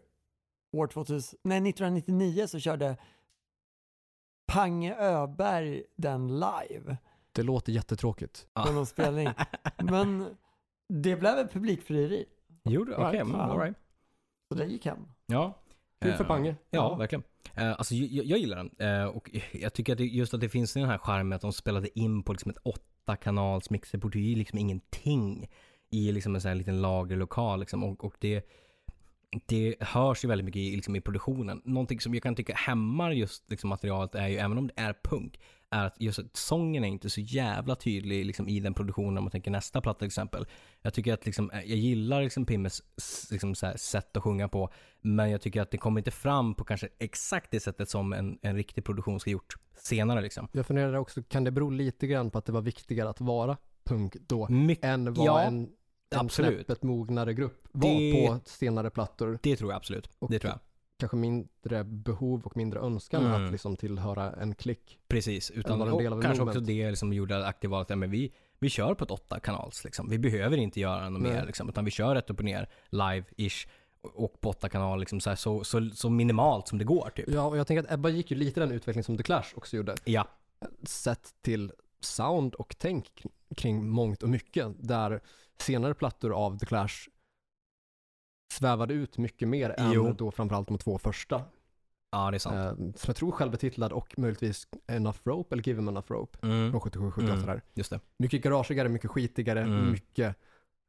Speaker 3: år 2000, nej 1999 så körde Pange Öberg den live
Speaker 1: Det låter jättetråkigt.
Speaker 2: Ja.
Speaker 3: på någon spelning. Men det blev ett publikfrieri.
Speaker 2: Jo, okej.
Speaker 3: Right,
Speaker 2: mm,
Speaker 3: fan.
Speaker 2: all right.
Speaker 3: Så det gick hem.
Speaker 2: Ja.
Speaker 1: Kul för
Speaker 2: Eh,
Speaker 1: Pange.
Speaker 2: Ja,
Speaker 3: Ja.
Speaker 2: verkligen. Eh, Alltså, ju- jag, jag gillar den. Eh, Och jag tycker att det, just att det finns den här charmen att de spelade in på liksom ett åtta kanals mixerport. Det är ju liksom ingenting i liksom en sån här liten lagerlokal. Liksom. Och, och det, det hörs ju väldigt mycket i, liksom i produktionen. Någonting som jag kan tycka hämmar just liksom materialet är ju, även om det är punk, är att just att sången är inte så jävla tydlig liksom, i den produktionen om man tänker nästa platta till exempel. Jag tycker att liksom, eh, jag gillar liksom Pimmes s- liksom, så här, sätt att sjunga på, men jag tycker att det kommer inte fram på kanske exakt det sättet som en, en riktig produktion ska gjort senare liksom.
Speaker 1: Jag funderade också, kan det bero lite grann på att det var viktigare att vara punk då
Speaker 2: Mycket,
Speaker 1: än vad
Speaker 2: Ja,
Speaker 1: en, en
Speaker 2: absolut.
Speaker 1: snäppet mognare grupp var
Speaker 2: Det-
Speaker 1: på senare plattor.
Speaker 2: det tror jag absolut.
Speaker 1: Och
Speaker 2: Det tror jag.
Speaker 1: kanske mindre behov och mindre önskan
Speaker 2: Mm.
Speaker 1: att liksom tillhöra en klick.
Speaker 2: Precis, utan
Speaker 1: var en
Speaker 2: och
Speaker 1: del av
Speaker 2: kanske
Speaker 1: movement.
Speaker 2: också det som gjorde att det var att ja, men vi, vi kör på ett åtta kanals. Liksom. Vi behöver inte göra något
Speaker 1: Nej.
Speaker 2: mer, liksom, utan vi kör rätt upp och ner live-ish och och på åtta kanal, liksom, så, här, så, så, så minimalt som det går. Typ.
Speaker 1: Ja, och jag tänker att Ebba gick ju lite den utveckling som The Clash också gjorde.
Speaker 2: Ja,
Speaker 1: Sett till sound och tänk kring- kring mångt och mycket där senare plattor av The Clash svävade ut mycket mer än
Speaker 2: Jo.
Speaker 1: då framförallt de två första.
Speaker 2: Ja, det är sant.
Speaker 1: Eh, som jag tror självbetitlad och möjligtvis Enough Rope eller Give Him Enough Rope
Speaker 2: Mm,
Speaker 1: från 77, 78
Speaker 2: Mm.
Speaker 1: där.
Speaker 2: just det.
Speaker 1: Mycket garagigare, mycket skitigare,
Speaker 2: Mm.
Speaker 1: mycket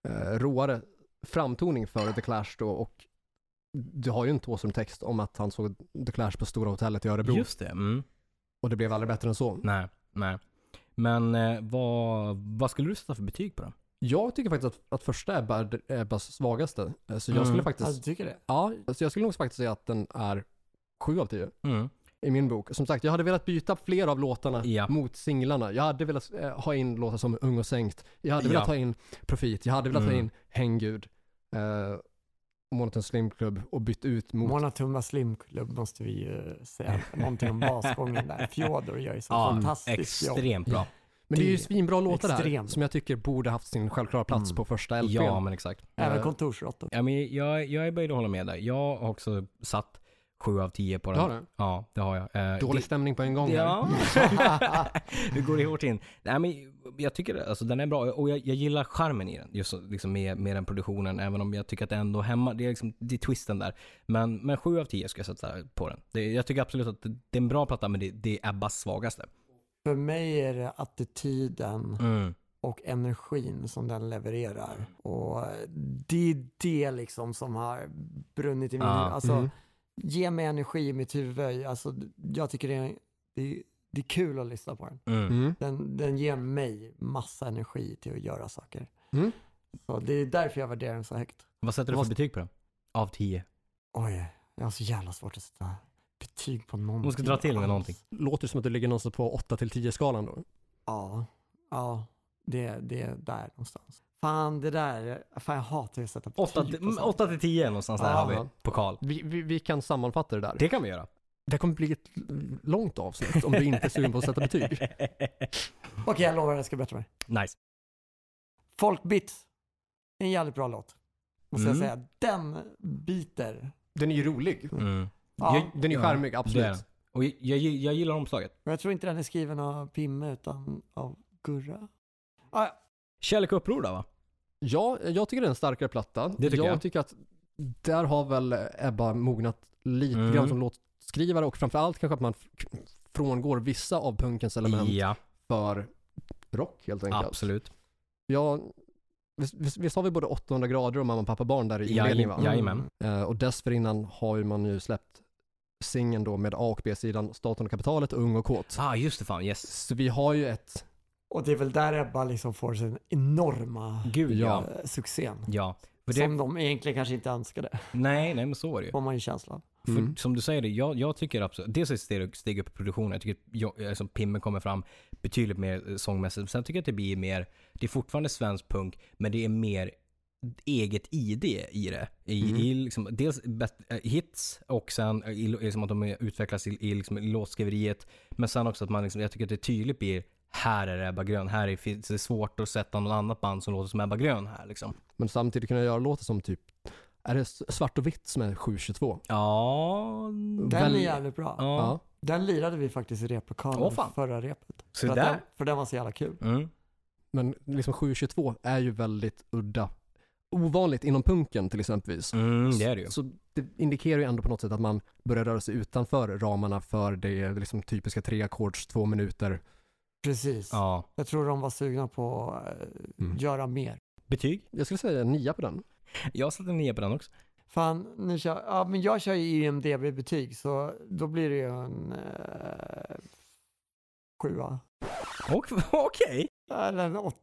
Speaker 1: eh, råare framtoning för The Clash då och du har ju en Thåström-text om att han såg The Clash på Stora Hotellet i Örebro
Speaker 2: Just det. Mm.
Speaker 1: och det blev aldrig bättre än så.
Speaker 2: Nej, nej. Men eh, vad, vad skulle du sätta för betyg på den?
Speaker 1: Jag tycker faktiskt att, att första är Bad- Ebbas svagaste. Eh, Så jag
Speaker 2: Mm.
Speaker 1: skulle
Speaker 3: Ja,
Speaker 1: faktiskt,
Speaker 3: du tycker det?
Speaker 1: ja, så jag skulle nog faktiskt säga att den är 7 av 10
Speaker 2: Mm.
Speaker 1: i min bok. Som sagt, jag hade velat byta fler av låtarna
Speaker 2: Ja.
Speaker 1: mot singlarna. Jag hade velat eh, ha in låtar som Ung och Sänkt. Jag hade velat
Speaker 2: Ja.
Speaker 1: ha in Profit. Jag hade velat ha
Speaker 2: Mm.
Speaker 1: in Hängud. Eh, Monoton Slim Club och bytt ut mot...
Speaker 3: Mona Tumba Slim Club måste vi ju säga någonting om basgången där. Fjodor gör ju så
Speaker 2: Ja,
Speaker 3: fantastiskt jobb.
Speaker 2: extremt bra.
Speaker 1: Men det är ju
Speaker 3: det-
Speaker 1: svinbra låtar här
Speaker 3: extremt.
Speaker 1: som jag tycker borde haft sin självklara plats
Speaker 2: Mm.
Speaker 1: på första LPn.
Speaker 2: Ja, men exakt.
Speaker 1: Eh,
Speaker 3: Även kontorsråttor.
Speaker 2: Ja, men jag, jag är böjd att hålla med där. Jag har också satt 7 av 10 på
Speaker 1: det
Speaker 2: den.
Speaker 1: har du.
Speaker 2: Ja, det har jag. Eh,
Speaker 1: Dålig stämning på en gång
Speaker 2: det,
Speaker 1: här.
Speaker 2: Ja. du går det hårt in. Nej, men jag tycker alltså, den är bra och jag, jag gillar charmen i den. Just så, liksom med, med den produktionen, även om jag tycker att det ändå hämmar. Det är, liksom, det är twisten där. Men, men 7 av 10 ska jag sätta på den. Det, jag tycker absolut att det, det är en bra platta, men det, det är Ebbas svagaste.
Speaker 3: För mig är det attityden
Speaker 2: Mm.
Speaker 3: och energin som den levererar. Och det är det liksom som har brunnit i min
Speaker 2: Ja.
Speaker 3: huvud. Alltså,
Speaker 1: Mm.
Speaker 3: ge mig energi i mitt huvud. Alltså, jag tycker det är, det, är, det är kul att lyssna på den.
Speaker 2: Mm.
Speaker 1: Mm.
Speaker 3: den. Den ger mig massa energi till att göra saker.
Speaker 1: Mm.
Speaker 3: Så det är därför jag värderar den så högt.
Speaker 2: Vad sätter du
Speaker 1: Vad-
Speaker 2: för betyg på den? Av 10.
Speaker 3: Oj, jag har så jävla svårt att sätta betyg på någonting. Alltså,
Speaker 2: ska dra till med
Speaker 3: alls.
Speaker 2: någonting.
Speaker 1: Låter som att du ligger någonstans på 8-10 skalan då.
Speaker 3: Ja, ja. Det, det är där någonstans. Fan, det där. Fan, jag hatar ju att sätta betyg
Speaker 2: 8,
Speaker 3: på sånt.
Speaker 2: 8 Mm, till 10 någonstans där
Speaker 3: Ja.
Speaker 2: har vi pokal.
Speaker 1: Vi, vi, vi kan sammanfatta det där.
Speaker 2: Det kan vi göra.
Speaker 1: Det kommer bli ett långt avsnitt om du inte är sugen på att sätta betyg.
Speaker 3: Okej, jag lovar jag ska bättra mig.
Speaker 2: nice.
Speaker 3: Folkbits. En jävligt bra låt. Måste jag
Speaker 2: Mm.
Speaker 3: säga. Den biter.
Speaker 1: Den är ju rolig.
Speaker 2: Mm.
Speaker 3: Ja,
Speaker 2: Jag-
Speaker 1: Den är ju
Speaker 2: Ja,
Speaker 1: charmig, absolut.
Speaker 2: det är den. Och jag, jag, jag gillar omslaget.
Speaker 3: men jag tror inte den är skriven av Pimme utan av Gurra. Ah,
Speaker 2: Kärlek och uppror då va?
Speaker 1: Ja, jag tycker det är en starkare platta.
Speaker 2: Det tycker jag.
Speaker 1: tycker att där har väl Ebba mognat lite
Speaker 2: Mm.
Speaker 1: grann som låtskrivare och framförallt kanske att man f- frångår vissa av punkens element
Speaker 2: Ja,
Speaker 1: för rock helt enkelt.
Speaker 2: absolut.
Speaker 1: Jag, visst, visst, visst har vi både 800 grader och mamma, pappa, barn där i
Speaker 2: Ja,
Speaker 1: inledningen va?
Speaker 2: ja. Jajamän.
Speaker 1: Eh, och dessförinnan har ju man ju släppt singeln då med A och B-sidan, Staten och kapitalet, Ung och kåt.
Speaker 2: Ah, just det fan. Yes.
Speaker 1: Så vi har ju ett,
Speaker 3: Och det är väl där Ebba liksom får sin enorma
Speaker 2: Gud ja.
Speaker 3: eh, succén.
Speaker 2: Ja. För det,
Speaker 3: Som de egentligen kanske inte önskade,
Speaker 2: nej, nej men så var det ju.
Speaker 3: får man ju känslan.
Speaker 1: Mm.
Speaker 2: För, som du säger, det, jag, jag tycker absolut, dels är det steg, steg upp i produktionen. Jag tycker jag, alltså, Pimme kommer fram betydligt mer eh, sångmässigt. Sen tycker jag att det blir mer, det är fortfarande svensk punk, men det är mer eget ID i det. I,
Speaker 1: Mm.
Speaker 2: i liksom, dels bet, eh, hits och sen eh, i, lo- liksom att de är- utvecklas i, i, liksom, i låtskriveriet. Men sen också att man, liksom, jag tycker att det tydligt blir här är det Ebba Grön, här är, finns det är svårt att sätta något annat band som låter som Ebba Grön här liksom.
Speaker 1: men samtidigt kunna göra låtar som typ, är det s- svart och vitt som är 722?
Speaker 2: Ja...
Speaker 3: Den
Speaker 1: Väl-
Speaker 3: är jävligt bra.
Speaker 2: ja.
Speaker 1: Ja.
Speaker 3: Den lirade vi faktiskt i replokalen
Speaker 2: Åh, fan.
Speaker 3: förra repet.
Speaker 2: Så
Speaker 3: för, att den,
Speaker 2: där.
Speaker 3: för den var så jävla kul.
Speaker 2: Mm.
Speaker 1: Men liksom 722 är ju väldigt udda. Ovanligt inom punken till exempelvis.
Speaker 2: Mm, det är det ju.
Speaker 1: Så det indikerar ju ändå på något sätt att man börjar röra sig utanför ramarna för det liksom typiska treackords, två minuter.
Speaker 3: Precis.
Speaker 2: Ja.
Speaker 3: Jag tror de var sugna på att eh,
Speaker 1: Mm.
Speaker 3: göra mer.
Speaker 2: Betyg?
Speaker 1: Jag skulle säga nia på den.
Speaker 2: Jag satte en nia på den också.
Speaker 3: Fan, nu kör, ja, men jag kör ju IMDB-betyg så då blir det ju en eh, sjua.
Speaker 2: Och- Okej!
Speaker 3: Eller en åtta.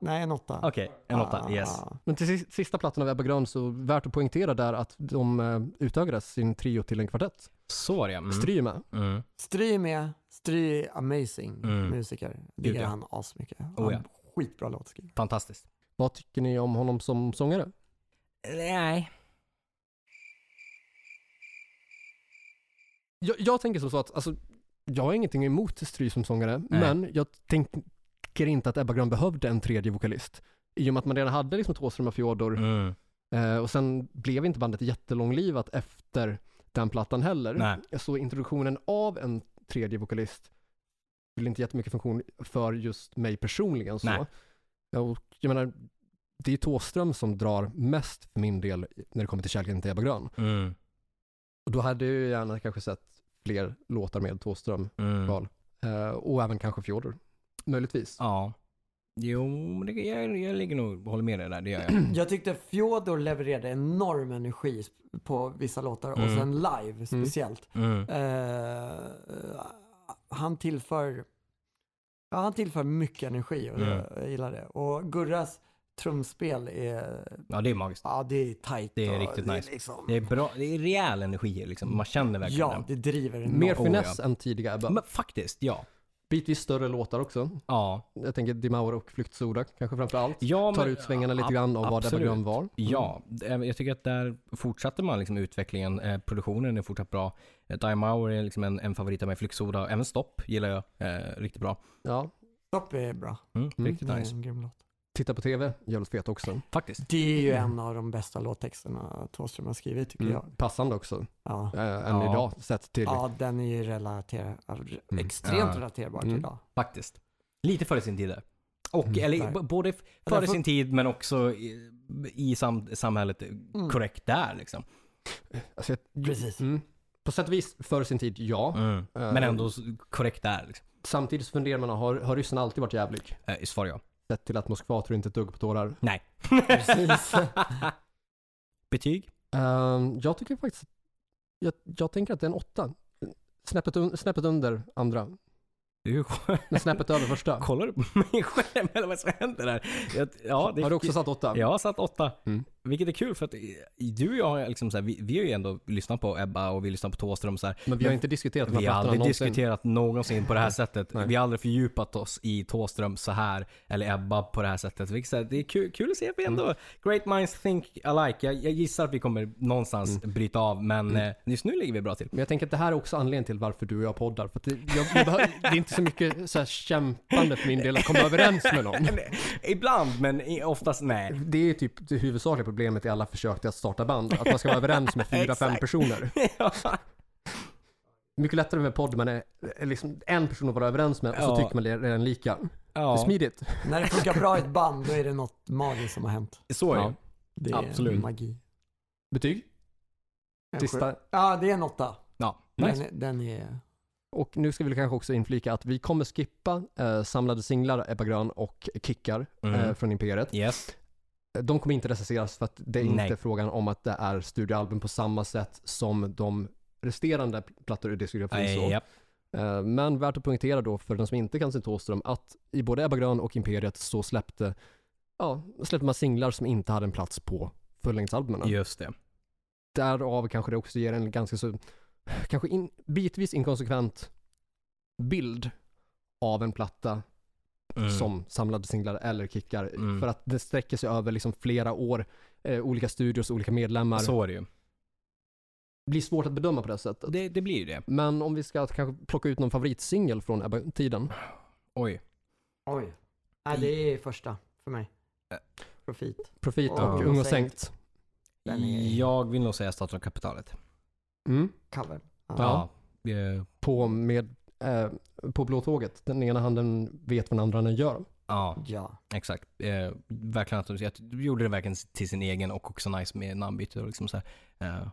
Speaker 3: Nej, en åtta.
Speaker 2: Okej, en åtta.
Speaker 3: Ah,
Speaker 2: Yes.
Speaker 3: ah.
Speaker 1: Men till sis- sista plattan av Ebba Grön så värt att poängtera där att de eh, utökade sin trio till en kvartett.
Speaker 2: Så var det ja. Mm.
Speaker 1: Stry är med.
Speaker 2: Mm.
Speaker 3: Stry är med. Stry är amazing
Speaker 2: Mm.
Speaker 3: musiker. Det
Speaker 2: Gud,
Speaker 3: gör
Speaker 2: ja.
Speaker 3: han asmycket. Han
Speaker 2: Oh, ja.
Speaker 3: Skitbra låtskrivare.
Speaker 2: Fantastiskt.
Speaker 1: Vad tycker ni om honom som sångare?
Speaker 2: Nej.
Speaker 1: Jag, jag tänker som så att, alltså, jag har ingenting emot Stry som sångare,
Speaker 2: Nej.
Speaker 1: men jag tänker inte att Ebba Grön behövde en tredje vokalist. I och med att man redan hade liksom Thåström och Fjodor,
Speaker 2: Mm.
Speaker 1: eh, och sen blev inte bandet jättelånglivat efter den plattan heller.
Speaker 2: Nej.
Speaker 1: Så introduktionen av en tredje vokalist fyller inte jättemycket funktion för just mig personligen. Så.
Speaker 2: Nej.
Speaker 1: Ja, Och jag menar, det är Tåström som drar mest för min del när det kommer till Kärleken till Ebba Grön.
Speaker 2: Mm.
Speaker 1: Och då hade jag ju gärna kanske sett fler låtar med Tåström
Speaker 2: Mm.
Speaker 1: val. Eh, och även kanske Fjodor. Möjligtvis.
Speaker 2: Ja. Jo, men det, jag, jag ligger nog, håller med dig där, det gör jag.
Speaker 3: Jag tyckte Fjodor levererade enorm energi på vissa låtar och
Speaker 2: Mm.
Speaker 3: sen live speciellt.
Speaker 2: Mm.
Speaker 3: Eh, han tillför ja, han tillför mycket energi och
Speaker 2: Mm.
Speaker 3: jag gillar det. Och Gurras trumspel är,
Speaker 2: Ja, det är magiskt.
Speaker 3: ja det är tajt.
Speaker 2: Det är
Speaker 3: och
Speaker 2: riktigt
Speaker 3: det
Speaker 2: nice.
Speaker 3: Liksom,
Speaker 2: Det är bra, det är rejäl energi liksom. Man känner verkligen
Speaker 3: ja,
Speaker 2: den.
Speaker 3: det driver enormt.
Speaker 1: Mer
Speaker 2: Oh,
Speaker 1: finess än tidiga Ebba.
Speaker 2: Men faktiskt, ja.
Speaker 1: Bitvis större låtar också.
Speaker 2: Ja.
Speaker 1: Jag tänker Dimaur och Flyktsoda kanske framför allt.
Speaker 2: ja
Speaker 1: Tar
Speaker 2: men-
Speaker 1: ut svängarna lite
Speaker 2: ab-
Speaker 1: grann av vad Ebba
Speaker 2: absolut.
Speaker 1: Grön var.
Speaker 2: Ja, eh, jag tycker att där fortsatte man liksom utvecklingen. Eh, produktionen är fortsatt bra. Eh, Dime Hour är liksom en, en favorit av mig. Flyxoda, även Stopp gillar jag eh, riktigt bra.
Speaker 1: Ja,
Speaker 3: Stopp är bra.
Speaker 2: Mm,
Speaker 1: Mm.
Speaker 2: Riktigt
Speaker 3: Det är
Speaker 2: nice.
Speaker 3: en grym låt.
Speaker 1: titta på tv, jävligt fet också.
Speaker 2: Faktiskt.
Speaker 3: Det är ju
Speaker 2: Mm.
Speaker 3: en av de bästa låttexterna Thåström har skrivit tycker jag.
Speaker 1: Passande också,
Speaker 3: Ja.
Speaker 1: äh, än
Speaker 2: Ja.
Speaker 1: idag sett till.
Speaker 3: ja, den är ju relaterad, extremt
Speaker 2: Mm. Ja.
Speaker 3: relaterbar
Speaker 1: Mm.
Speaker 3: till idag.
Speaker 2: Faktiskt. Lite före sin tid där. Och,
Speaker 1: Mm.
Speaker 2: eller
Speaker 3: Nej.
Speaker 2: b- både f-
Speaker 3: Ja,
Speaker 2: före
Speaker 3: därför-
Speaker 2: sin tid men också i, i sam, samhället
Speaker 1: Mm.
Speaker 2: eh,
Speaker 3: Mm.
Speaker 2: korrekt där liksom.
Speaker 1: Alltså, jag-
Speaker 3: Precis.
Speaker 1: Mm. På sätt och vis, före sin tid, ja. Eh,
Speaker 2: Mm. Men ändå s- korrekt där. Liksom.
Speaker 1: Samtidigt så funderar man, har, har ryssen alltid varit jävlig?
Speaker 2: Eh, svar ja.
Speaker 1: Sett till att Moskva tror inte ett dugg på tårar.
Speaker 2: Nej.
Speaker 3: Precis.
Speaker 2: Betyg?
Speaker 1: Ehm, jag tycker faktiskt, jag, jag tänker att det är en åtta. Snäppet, un, snäppet under andra,
Speaker 2: Du,
Speaker 1: men snäppet över första.
Speaker 2: kollar du på mig själv eller vad som händer där? Jag, ja, det,
Speaker 1: Har du också satt åtta?
Speaker 2: Jag har satt åtta.
Speaker 1: Mm.
Speaker 2: Vilket är kul för att eh, du och jag, har liksom så här, vi, vi har ju ändå lyssnat på Ebba och vi lyssnar på Thåström. Så här.
Speaker 1: Men vi har inte diskuterat de här
Speaker 2: Vi har
Speaker 1: plattorna
Speaker 2: aldrig
Speaker 1: någonsin.
Speaker 2: diskuterat någonsin på det här sättet.
Speaker 1: Nej.
Speaker 2: Vi har aldrig fördjupat oss i Thåström så här eller Ebba på det här sättet. Vilket, så här, det är kul, kul att se att vi ändå,
Speaker 1: Mm.
Speaker 2: great minds think alike. Jag, jag gissar att vi kommer någonstans
Speaker 1: Mm.
Speaker 2: bryta av men eh, just nu ligger vi bra till.
Speaker 1: Men jag tänker att det här är också anledningen till varför du och jag poddar. För att det, jag, jag behöver, det är inte så mycket så här kämpande för min del att komma överens med någon.
Speaker 2: eh, Ibland men i- oftast nej.
Speaker 1: Det är typ det huvudsakliga problemet i alla försök till att starta band. Att man ska vara överens med fyra, fem
Speaker 2: Exakt.
Speaker 1: personer.
Speaker 2: ja.
Speaker 1: Mycket lättare med podd, men är, är liksom en person att vara överens med och så
Speaker 2: Ja.
Speaker 1: tycker man det är redan lika. Det är smidigt.
Speaker 3: När det funkar bra i ett band då är det något magiskt som har hänt.
Speaker 2: Så är det.
Speaker 1: Ja.
Speaker 3: Det är
Speaker 2: Absolut.
Speaker 3: magi.
Speaker 1: Betyg?
Speaker 3: En sju-
Speaker 1: Sista.
Speaker 3: Ja, det är en åtta.
Speaker 2: Ja.
Speaker 3: Den,
Speaker 2: Nice.
Speaker 3: är- den är...
Speaker 1: Och nu ska vi kanske också inflika att vi kommer skippa eh, samlade singlar, Ebba Grön och Kickar
Speaker 2: Mm.
Speaker 1: eh, från Imperiet.
Speaker 2: Yes.
Speaker 1: De kommer inte recenseras för att det är
Speaker 2: Nej.
Speaker 1: inte frågan om att det är studioalbum på samma sätt som de resterande plattor ur diskografin. så.
Speaker 2: Japp.
Speaker 1: Eh, Men värt att poängtera då för den som inte kan sin Thåström att i både Ebba Grön och Imperiet så släppte, ja, släppte man singlar som inte hade en plats på fullängdsalbumen.
Speaker 2: Just det.
Speaker 1: Därav kanske det också ger en ganska så, kanske in, bitvis inkonsekvent bild av en platta
Speaker 2: Mm.
Speaker 1: som samlade singlar eller kickar.
Speaker 2: Mm.
Speaker 1: För att det sträcker sig över liksom flera år, eh, olika studios, olika medlemmar.
Speaker 2: Så är det ju.
Speaker 1: Det blir svårt att bedöma på det sättet.
Speaker 2: Det, det blir ju det.
Speaker 1: Men om vi ska kanske plocka ut någon favoritsingel från Ebba-tiden.
Speaker 2: Oj.
Speaker 3: Oj. Ja, det är första för mig.
Speaker 2: Ä-
Speaker 3: Profit.
Speaker 1: Profit och
Speaker 3: Ja.
Speaker 1: Ung och Sänkt.
Speaker 3: Den är-
Speaker 2: Jag vill nog säga Staten och kapitalet.
Speaker 1: Mm.
Speaker 3: Cover.
Speaker 1: Ja.
Speaker 2: Ja. Eh,
Speaker 1: På, med, eh, på blå tåget. Den ena handen vet vad den andra handen gör.
Speaker 2: ja,
Speaker 3: Ja.
Speaker 2: exakt. Eh, verkligen att de jag gjorde det verkligen till sin egen och också nice med namnbytet och liksom så här. Eh,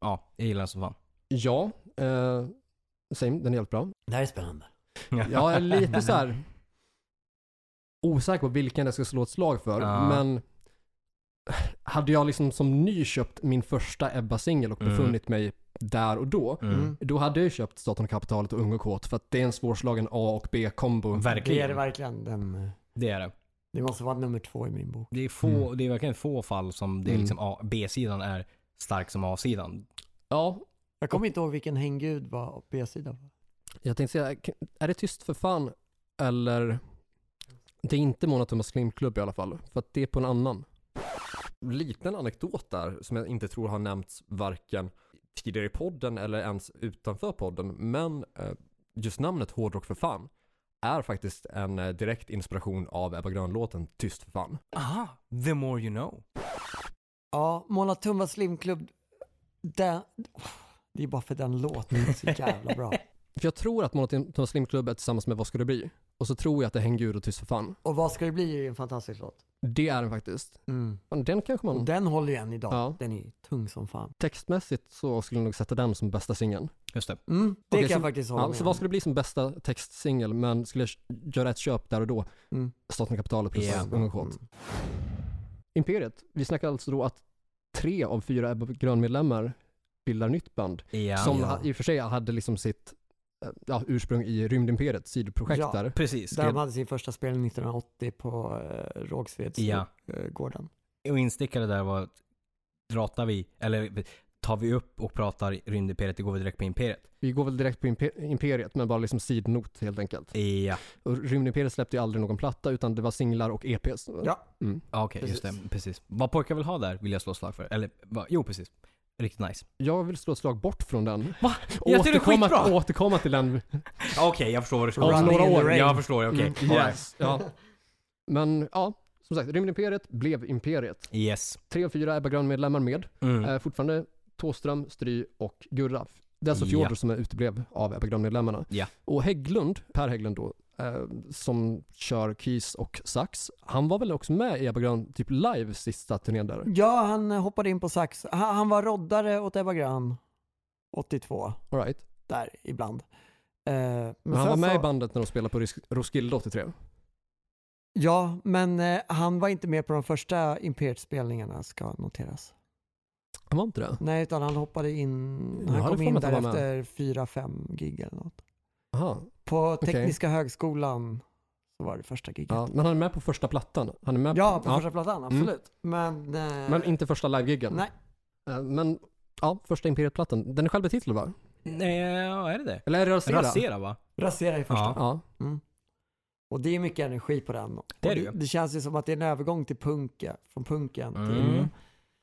Speaker 2: ja, jag gillar den som fan.
Speaker 1: Ja, eh, same, den är helt bra.
Speaker 3: Det här är spännande.
Speaker 1: Jag
Speaker 2: Mm.
Speaker 1: är lite så här osäker på vilken jag ska slå ett slag för.
Speaker 2: Ja.
Speaker 1: Men hade jag liksom som ny köpt min första Ebba-singel och
Speaker 2: Mm.
Speaker 1: befunnit mig där och då.
Speaker 2: Mm.
Speaker 1: Då hade jag ju köpt Staten och kapitalet och Ung och kåt för att det är en svårslagen A och B-kombo.
Speaker 3: Det är det
Speaker 2: Verkligen.
Speaker 3: verkligen. Den, eh,
Speaker 2: Det är det.
Speaker 3: det måste vara nummer två i min bok.
Speaker 2: Det är, få, det är verkligen få fall som det är
Speaker 1: Mm.
Speaker 2: liksom A- B-sidan är stark som A-sidan.
Speaker 1: Ja,
Speaker 3: Jag kommer inte ihåg vilken hänggud var på B-sidan.
Speaker 1: jag tänkte säga, är det tyst för fan eller? Det är inte Mona Thomas Klimpklubb i alla fall, för att det är på en annan.
Speaker 4: liten anekdot där som jag inte tror har nämnts varken tidigare i podden eller ens utanför podden. Men eh, just namnet Hårdrock för fan är faktiskt en eh, direkt inspiration av Ebba Grön-låten Tyst för fan.
Speaker 2: Aha, the more you know.
Speaker 3: Ja, Måla Tumba Slimklubb. Den, det är bara för den låten är så jävla bra.
Speaker 1: För jag tror att Monotema Slim-klubb är tillsammans med Vad ska det bli? Och så tror jag att det är Häng och Tyst för fan.
Speaker 3: Och Vad ska det bli är ju en fantastisk låt. Mm.
Speaker 1: Det är den faktiskt. Men Den kanske
Speaker 3: Och
Speaker 1: man...
Speaker 3: den håller ju än idag.
Speaker 1: Mm. Ja.
Speaker 3: Den är ju tung som fan.
Speaker 1: Textmässigt så skulle jag nog sätta den som bästa singeln.
Speaker 2: Just det.
Speaker 3: Mm, det
Speaker 1: Okej,
Speaker 3: kan jag
Speaker 1: så-
Speaker 3: faktiskt hålla
Speaker 1: Ja,
Speaker 3: med
Speaker 1: så
Speaker 3: om.
Speaker 1: vad skulle det bli som bästa textsingel? Men skulle jag göra ett köp där och då?
Speaker 3: Mm.
Speaker 1: Staten och kapitalet plus
Speaker 2: Ja.
Speaker 1: yeah. Ung och kåt.
Speaker 3: Mm.
Speaker 1: Imperiet, vi snackar alltså då att tre av fyra Ebba Grön-medlemmar bildar nytt band.
Speaker 2: Ja.
Speaker 1: som
Speaker 3: ja.
Speaker 1: ha- i och för sig hade liksom sitt eh, ja, ursprung i Rymdimperiet, sidoprojekt
Speaker 3: Ja.
Speaker 1: där.
Speaker 2: Precis.
Speaker 3: Där de hade sin första spelning 1980 på eh,
Speaker 2: Ja.
Speaker 3: Rågsvedsgården.
Speaker 2: Och instickare där var att ratar vi, eller tar vi upp och pratar Rymdimperiet, det E går vi direkt på Imperiet.
Speaker 1: Vi går väl direkt på Imper- Imperiet, men bara liksom sidnot helt enkelt.
Speaker 2: Ja.
Speaker 1: Och Rymdimperiet släppte ju aldrig någon platta, utan det var singlar och E EPs.
Speaker 3: Ja.
Speaker 1: Mm.
Speaker 2: Ja, Okej, just
Speaker 3: Precis.
Speaker 2: det. Precis. Vad pojkar vill ha där vill jag slå slag för. Eller, va, jo precis. Riktigt nice.
Speaker 1: Jag vill slå ett slag bort från den.
Speaker 2: Va?
Speaker 1: Och
Speaker 2: Jag tycker det är
Speaker 1: återkomma,
Speaker 2: skitbra!
Speaker 1: återkomma till den
Speaker 2: Okej, jag förstår vad du ska
Speaker 1: Om några
Speaker 3: in the
Speaker 1: år,
Speaker 3: rain.
Speaker 2: Jag förstår, okej.
Speaker 1: Mm,
Speaker 2: All right.
Speaker 1: yes. ja. Men ja, som sagt, Rymdimperiet blev Imperiet.
Speaker 2: Yes.
Speaker 1: Tre av fyra Ebba Grön-medlemmar med.
Speaker 2: Mm.
Speaker 1: Eh, fortfarande Tåström, Stry och Gurra. Det är alltså
Speaker 2: Ja.
Speaker 1: Fjodor som uteblev av Ebba Grön-medlemmarna.
Speaker 2: Ja.
Speaker 1: Och Hägglund, Per Hägglund då, eh, som kör keys och sax, han var väl också med i Ebba Grön typ live sista turnén där?
Speaker 3: Ja, han eh, hoppade in på sax. Han, han var roddare åt Ebba Grön 82,
Speaker 1: All right.
Speaker 3: där ibland. Eh, men
Speaker 1: Men han
Speaker 3: sen
Speaker 1: var med
Speaker 3: så-
Speaker 1: i bandet när de spelade på Ros- Roskilde 83.
Speaker 3: Ja, men eh, han var inte med på de första Imperiet-spelningarna ska noteras.
Speaker 1: Han var inte det?
Speaker 3: Nej, utan han hoppade in.
Speaker 1: Jag
Speaker 3: Han
Speaker 1: hade
Speaker 3: kom
Speaker 1: för
Speaker 3: in
Speaker 1: mig att
Speaker 3: där
Speaker 1: han var med.
Speaker 3: efter 4-5 gig eller något.
Speaker 1: Aha.
Speaker 3: På
Speaker 1: Okej.
Speaker 3: Tekniska högskolan så var det första giget. Ja,
Speaker 1: Ja, men han är med på första plattan. Han är med
Speaker 3: på första
Speaker 2: Mm.
Speaker 3: plattan, absolut. Men, eh,
Speaker 1: Men inte första live-giggen.
Speaker 3: Nej.
Speaker 1: Eh, Men ja, första Imperiet-plattan. Den är självbetitlad va?
Speaker 2: Nej, ja, är det det?
Speaker 1: Eller är det Rasera?
Speaker 2: Rasera va?
Speaker 3: rasera i första. Mm.
Speaker 2: Ja.
Speaker 1: Ja.
Speaker 3: Och det är mycket energi på den. Och
Speaker 2: Det är det
Speaker 3: det,
Speaker 2: ju.
Speaker 3: det känns ju som att det är en övergång till punken, från punken till...
Speaker 2: Mm.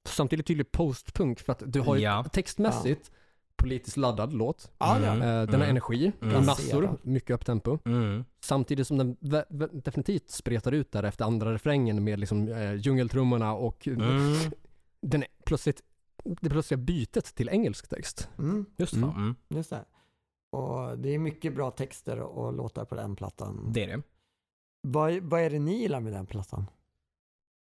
Speaker 1: Samtidigt tydlig postpunk för att du har ju
Speaker 2: Ja.
Speaker 1: textmässigt politiskt laddad låt.
Speaker 3: Ja, ja.
Speaker 1: Eh,
Speaker 2: Mm.
Speaker 1: Den har energi,
Speaker 2: Mm.
Speaker 1: massor,
Speaker 3: Placerad.
Speaker 1: mycket upptempo.
Speaker 2: Mm.
Speaker 1: Samtidigt som den vä- vä- definitivt spretar ut där efter andra refrängen med liksom, eh, djungeltrummorna och
Speaker 2: Mm.
Speaker 1: den är plötsligt, det plötsliga bytet till engelsk text.
Speaker 3: Mm,
Speaker 2: Just det.
Speaker 1: Mm.
Speaker 2: Mm.
Speaker 3: just det. Och det är mycket bra texter och låtar på den plattan.
Speaker 2: Det är det.
Speaker 3: Vad, vad är det ni gillar med den plattan?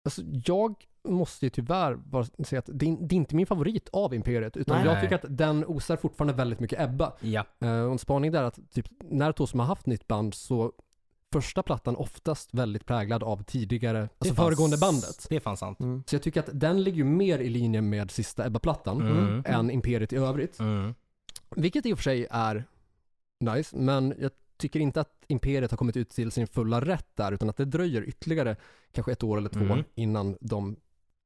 Speaker 1: Alltså, jag måste ju tyvärr bara säga att det är, det är inte min favorit av Imperiet utan
Speaker 3: Nej.
Speaker 1: jag
Speaker 2: Nej.
Speaker 1: tycker att den osar fortfarande väldigt mycket Ebba.
Speaker 2: Ja.
Speaker 1: Eh, och en spaning där att typ, när Tosom har haft nytt band så första plattan oftast väldigt präglad av tidigare,
Speaker 2: Det
Speaker 1: alltså
Speaker 2: fanns-
Speaker 1: föregående bandet.
Speaker 2: Det är fan sant.
Speaker 3: Mm.
Speaker 1: Så jag tycker att den ligger ju mer i linje med sista Ebba-plattan
Speaker 2: Mm.
Speaker 1: än Imperiet i övrigt.
Speaker 2: Mm.
Speaker 1: Vilket i och för sig är nice, men jag tycker inte att Imperiet har kommit ut till sin fulla rätt där, utan att det dröjer ytterligare kanske ett år eller två
Speaker 2: Mm.
Speaker 1: innan de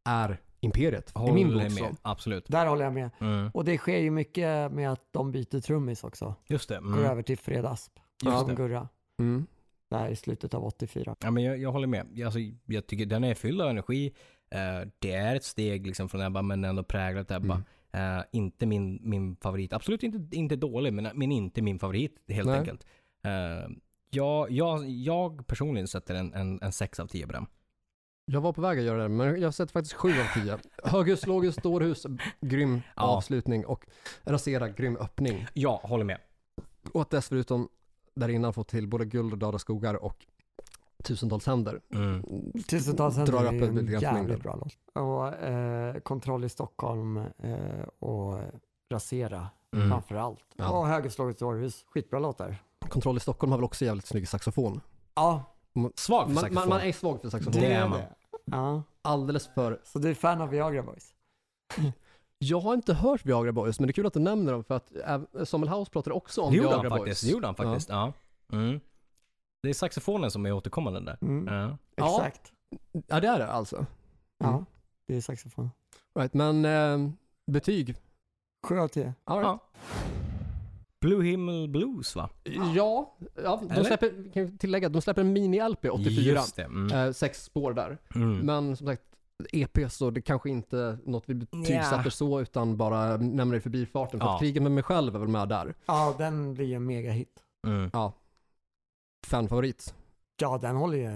Speaker 1: är Imperiet. I
Speaker 2: Håller
Speaker 1: min bok så.
Speaker 2: med. Absolut.
Speaker 3: Där håller jag med.
Speaker 2: Mm.
Speaker 3: Och det sker ju mycket med att de byter trummis också.
Speaker 2: Just det.
Speaker 3: Går
Speaker 2: Mm.
Speaker 3: över till Fred Asp,
Speaker 2: Just
Speaker 3: som
Speaker 2: det.
Speaker 3: Gurra,
Speaker 1: Mm.
Speaker 3: där i slutet av 84.
Speaker 2: Ja, men jag, jag håller med. Jag, alltså, jag tycker den är fylld av energi. Eh, det är ett steg liksom från Ebba, men ändå präglat Ebba. Eh, inte min, min favorit. Absolut inte, inte dålig, men, men inte min favorit helt
Speaker 1: Nej.
Speaker 2: enkelt. Eh, jag, jag, jag personligen sätter en, en, en 6 av 10 på den.
Speaker 1: Jag var på väg att göra det, men jag sätter faktiskt 7 av 10. Höghus, låghus, dårhus, eh, grym
Speaker 2: Ja.
Speaker 1: avslutning och rasera, grym öppning.
Speaker 2: Jag håller med.
Speaker 1: Och att dessutom där innan få till både guld och döda skogar och tusentals händer.
Speaker 2: Mm.
Speaker 3: Tusentals händer
Speaker 1: Drar
Speaker 3: är
Speaker 1: upp
Speaker 3: ju
Speaker 1: en
Speaker 3: en
Speaker 1: begränsning
Speaker 3: jävligt
Speaker 1: där.
Speaker 3: bra låt. Och eh, Kontroll i Stockholm eh, och Rasera
Speaker 2: Mm.
Speaker 3: framför allt.
Speaker 1: Ja.
Speaker 3: Och Högerslaget i Århus, skitbra låtar.
Speaker 1: Kontroll i Stockholm har väl också jävligt snygg saxofon.
Speaker 3: Ja,
Speaker 2: Svag
Speaker 1: Man,
Speaker 2: för
Speaker 1: man, man
Speaker 2: saxofon.
Speaker 1: är svag för saxofon.
Speaker 2: Det är man.
Speaker 3: Ja,
Speaker 1: Alldeles för...
Speaker 3: så du är fan av Viagra Boys?
Speaker 1: Jag har inte hört Viagra Boys, men det är kul att du nämner dem för att äv- Samuel House pratade också om
Speaker 2: Det gjorde
Speaker 1: Viagra
Speaker 2: han
Speaker 1: Boys.
Speaker 2: faktiskt. Det gjorde han
Speaker 1: Ja.
Speaker 2: faktiskt. Ja. Mm. Det är saxofonen som är återkommande där.
Speaker 3: Mm,
Speaker 2: Ja.
Speaker 1: Ja.
Speaker 3: Exakt.
Speaker 1: Ja, det är det alltså.
Speaker 3: Ja,
Speaker 1: Mm.
Speaker 3: det är saxofon.
Speaker 1: Right, men eh, betyg?
Speaker 3: 7 av 10.
Speaker 1: All right.
Speaker 2: Blue Himmel Blues va?
Speaker 1: Ja, ja de
Speaker 2: Eller?
Speaker 1: släpper, kan vi tillägga, de släpper en mini-LP 84.
Speaker 2: Just det. Mm.
Speaker 1: Eh, sex spår där.
Speaker 2: Mm.
Speaker 1: Men som sagt, EP så det kanske inte något vi betygsätter
Speaker 2: Nja.
Speaker 1: så utan bara nämner det i förbifarten. För
Speaker 2: Ja.
Speaker 1: att kriget med mig själv är väl med där.
Speaker 3: Ja, den blir ju en megahit.
Speaker 2: Mm.
Speaker 1: Fanfavorit,
Speaker 3: Ja, den håller ju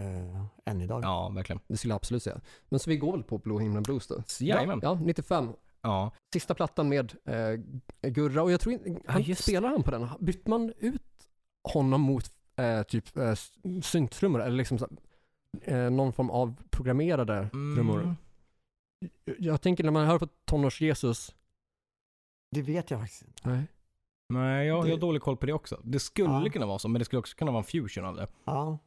Speaker 3: än idag.
Speaker 2: Ja, verkligen.
Speaker 1: det skulle jag absolut säga. Men så vi går väl på Blå himlen blues då?
Speaker 2: Jajamän.
Speaker 1: Ja, 95.
Speaker 2: Ja.
Speaker 1: Sista plattan med eh, Gurra och jag tror inte, han
Speaker 2: just det.
Speaker 1: spelar han på den? Bytte man ut honom mot eh, typ eh, s- synttrummor eller liksom så, eh, någon form av programmerade
Speaker 2: Mm.
Speaker 3: Mm.
Speaker 1: trummor? Jag- Jag tänker när man hör på tonårs-Jesus,
Speaker 3: Det vet jag faktiskt inte.
Speaker 1: nej.
Speaker 2: Nej, jag, jag har
Speaker 3: Det-
Speaker 2: dålig koll på det också. Det skulle
Speaker 3: Ja.
Speaker 2: kunna vara så, men det skulle också kunna vara en fusion av det.
Speaker 3: Ja.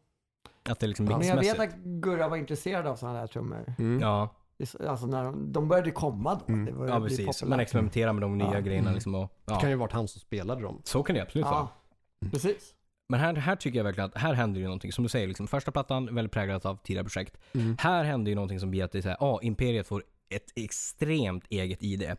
Speaker 2: Att det är liksom
Speaker 1: Ja.
Speaker 3: Men jag vet
Speaker 2: mixmässigt.
Speaker 3: att Gurra var intresserad av sådana där trummor.
Speaker 1: Mm.
Speaker 2: Ja,
Speaker 3: Det är så- Alltså när de, de började komma då.
Speaker 1: Mm.
Speaker 3: Det började
Speaker 2: ja
Speaker 3: bli
Speaker 2: precis.
Speaker 3: populärt.
Speaker 2: Man experimenterar med de nya
Speaker 3: Ja.
Speaker 2: grejerna
Speaker 1: Mm.
Speaker 2: liksom. Och,
Speaker 1: Det kan
Speaker 2: ja.
Speaker 1: ju ha varit han som spelade dem.
Speaker 2: Så kan det absolut vara.
Speaker 3: Ja, precis.
Speaker 2: Men här, här tycker jag verkligen att här händer ju någonting. Som du säger, liksom, första plattan väldigt präglat av tidigare projekt. Här händer ju någonting som blir att det är så här, ah, Imperiet får ett extremt eget ID.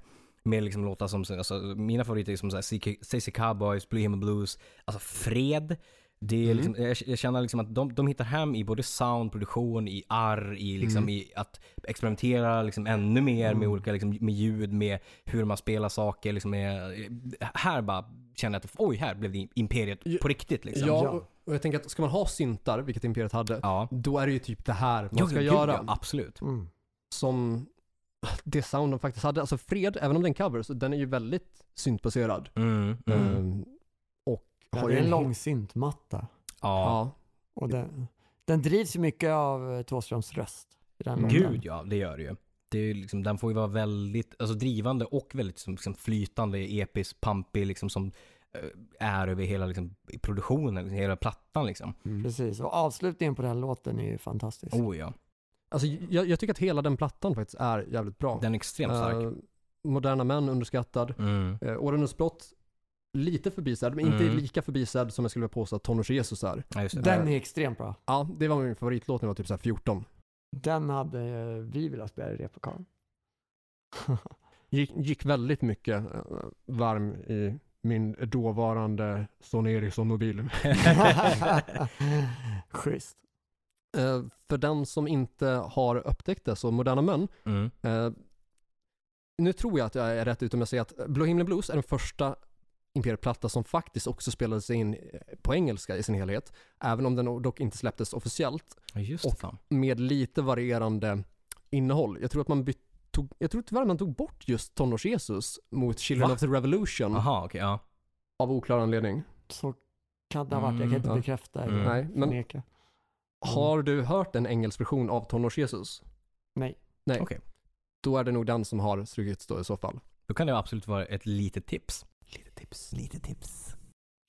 Speaker 2: Med liksom låtar som, alltså, mina favoriter är som så här, CK Stacey Cowboys, Blue Himmel Blues, alltså Fred. Det är
Speaker 1: Mm.
Speaker 2: liksom, jag, jag känner liksom att de, de hittar hem i både sound, produktion, i arr, i, liksom,
Speaker 1: Mm.
Speaker 2: i att experimentera liksom, ännu mer med
Speaker 1: Mm.
Speaker 2: olika liksom, med ljud, med hur man spelar saker. Liksom, med, här bara känner jag att oj, här blev det Imperiet på riktigt. Liksom.
Speaker 1: Ja,
Speaker 3: ja.
Speaker 1: och, och jag tänker att ska man ha syntar, vilket Imperiet hade,
Speaker 2: Ja.
Speaker 1: då är det ju typ det här man
Speaker 2: Jo,
Speaker 1: ska
Speaker 2: gud,
Speaker 1: göra.
Speaker 2: Ja, absolut.
Speaker 3: Mm.
Speaker 1: Som det sound de faktiskt hade. Alltså Fred, även om den covers, den är ju väldigt syntbaserad.
Speaker 2: Mm, mm.
Speaker 1: Mm. och
Speaker 3: Ja,
Speaker 1: har
Speaker 3: det
Speaker 1: ju Mm.
Speaker 3: är en långsintmatta.
Speaker 2: Ja.
Speaker 1: Ja.
Speaker 3: Och den, den drivs ju mycket av eh, Thåströms röst. I den
Speaker 1: Mm.
Speaker 3: låten.
Speaker 2: Gud ja, det gör det ju. Det är ju liksom, den får ju vara väldigt alltså, drivande och väldigt som, liksom, flytande, episk, pampig liksom, som eh, är över hela liksom, produktionen, liksom, hela plattan liksom.
Speaker 3: Precis, och avslutningen på den här låten är ju fantastisk.
Speaker 2: Oh ja,
Speaker 1: Alltså, jag, jag tycker att hela den plattan faktiskt är jävligt bra.
Speaker 2: den är extremt stark.
Speaker 1: Eh, moderna män underskattad.
Speaker 2: Mm.
Speaker 1: Uh, Årenes blott, lite förbisedd, men inte
Speaker 2: Mm.
Speaker 1: lite förbisedd som jag skulle vilja påstå att Tonårs-Jesus är.
Speaker 2: Ja, just det.
Speaker 3: Den är extremt bra.
Speaker 1: Ja, det var min favoritlåt när jag var typ så här 14.
Speaker 3: Den hade eh, vi velat spela i replokalen.
Speaker 1: Gick, gick väldigt mycket eh, varm i min dåvarande Son Eriksson-mobil.
Speaker 3: Schysst.
Speaker 1: Eh, för den som inte har upptäckt det, så Moderna Män.
Speaker 2: mm.
Speaker 1: Eh, nu tror jag att jag är rätt ute om jag säger att Blå himlen blues är den första Imperiet-platta som faktiskt också spelades in eh, på engelska i sin helhet. Även om den dock inte släpptes officiellt
Speaker 2: Ja, just det.
Speaker 1: Och-
Speaker 2: fan.
Speaker 1: med lite varierande innehåll. Jag tror att man byt, tog, jag tror tyvärr man tog bort just Tonårs-Jesus mot Children
Speaker 2: Va?
Speaker 1: of the Revolution
Speaker 2: Aha, okej. ja.
Speaker 1: av oklar anledning.
Speaker 3: Så kan det ha varit, jag kan inte
Speaker 1: Mm, ja.
Speaker 3: bekräfta eller
Speaker 2: Mm.
Speaker 1: Nej, men
Speaker 3: förneka.
Speaker 1: har du hört en engelsk version av Tonårs-Jesus?
Speaker 3: Nej.
Speaker 1: Nej.
Speaker 2: Okej.
Speaker 1: Då är det nog den som har strukits då i så fall.
Speaker 2: Då kan det absolut vara ett litet tips. Lite tips. Lite tips.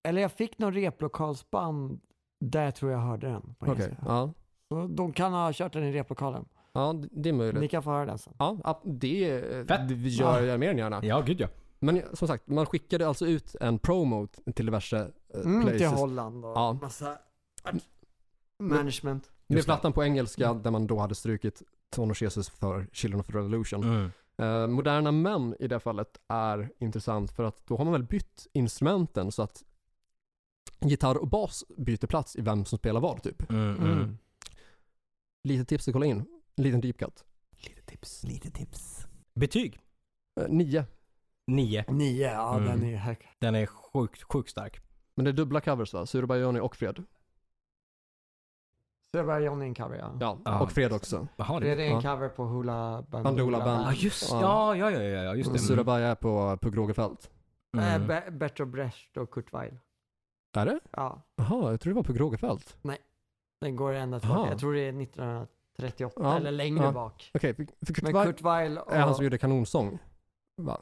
Speaker 3: Eller jag fick någon replokalsband där jag tror jag hörde den. på
Speaker 1: Okej,
Speaker 3: engelska.
Speaker 1: ja.
Speaker 3: Så De kan ha kört den i replokalen.
Speaker 1: Ja, det- det är möjligt.
Speaker 3: Ni kan få höra den sen.
Speaker 1: Ja, ab- det
Speaker 2: Fett.
Speaker 1: det gör jag mer än gärna.
Speaker 2: Ja, gud ja.
Speaker 1: Men som sagt, man skickade alltså ut en promo till diverse eh,
Speaker 3: Mm, till
Speaker 1: places.
Speaker 3: Holland och
Speaker 1: Ja.
Speaker 3: massa
Speaker 1: Mm.
Speaker 3: management.
Speaker 1: Med
Speaker 2: Just det. Mm.
Speaker 1: plattan på engelska där man då hade strukit Tonårs Jesus för Children of the Revolution.
Speaker 2: Mm.
Speaker 1: Eh, moderna män i det fallet är intressant för att då har man väl bytt instrumenten så att gitarr och bas byter plats i vem som spelar vad typ.
Speaker 2: Mm, mm.
Speaker 3: Mm.
Speaker 1: Lite tips att kolla in. En liten deep cut.
Speaker 2: Lite tips. Lite tips. Betyg?
Speaker 1: Eh, nio.
Speaker 2: Nio.
Speaker 3: Nio, ja
Speaker 2: Mm.
Speaker 3: den är hög.
Speaker 2: Den är sjukt, sjukt stark.
Speaker 1: Men det är dubbla covers va? Surbayoni och Fred.
Speaker 3: Så det var Johnny en cover ja.
Speaker 1: Ja,
Speaker 2: Ja.
Speaker 1: och Fred också.
Speaker 2: Jaha,
Speaker 3: Det är
Speaker 2: det...
Speaker 3: en
Speaker 1: Ja.
Speaker 3: cover på Hula Band.
Speaker 1: Bandula Band.
Speaker 2: Ja, just
Speaker 1: Ja.
Speaker 2: ja. Ja, ja, ja, ja, just det. Mm.
Speaker 1: Surabaya är på, på Grågefält.
Speaker 3: Mm. Eh,
Speaker 2: Mm.
Speaker 3: Be- Bertolt Brecht och Kurt Weill.
Speaker 1: Är det?
Speaker 3: Ja,
Speaker 1: Jaha, jag tror det var på Grågefält.
Speaker 3: den går ända
Speaker 1: Aha.
Speaker 3: tillbaka. Jag tror det är 1938
Speaker 1: Ja,
Speaker 3: eller längre
Speaker 1: ja.
Speaker 3: bak.
Speaker 1: Okej, för, för Kurt
Speaker 3: Men
Speaker 1: Weill
Speaker 3: Kurt Weill och...
Speaker 1: är han som gjorde kanonsång. Va?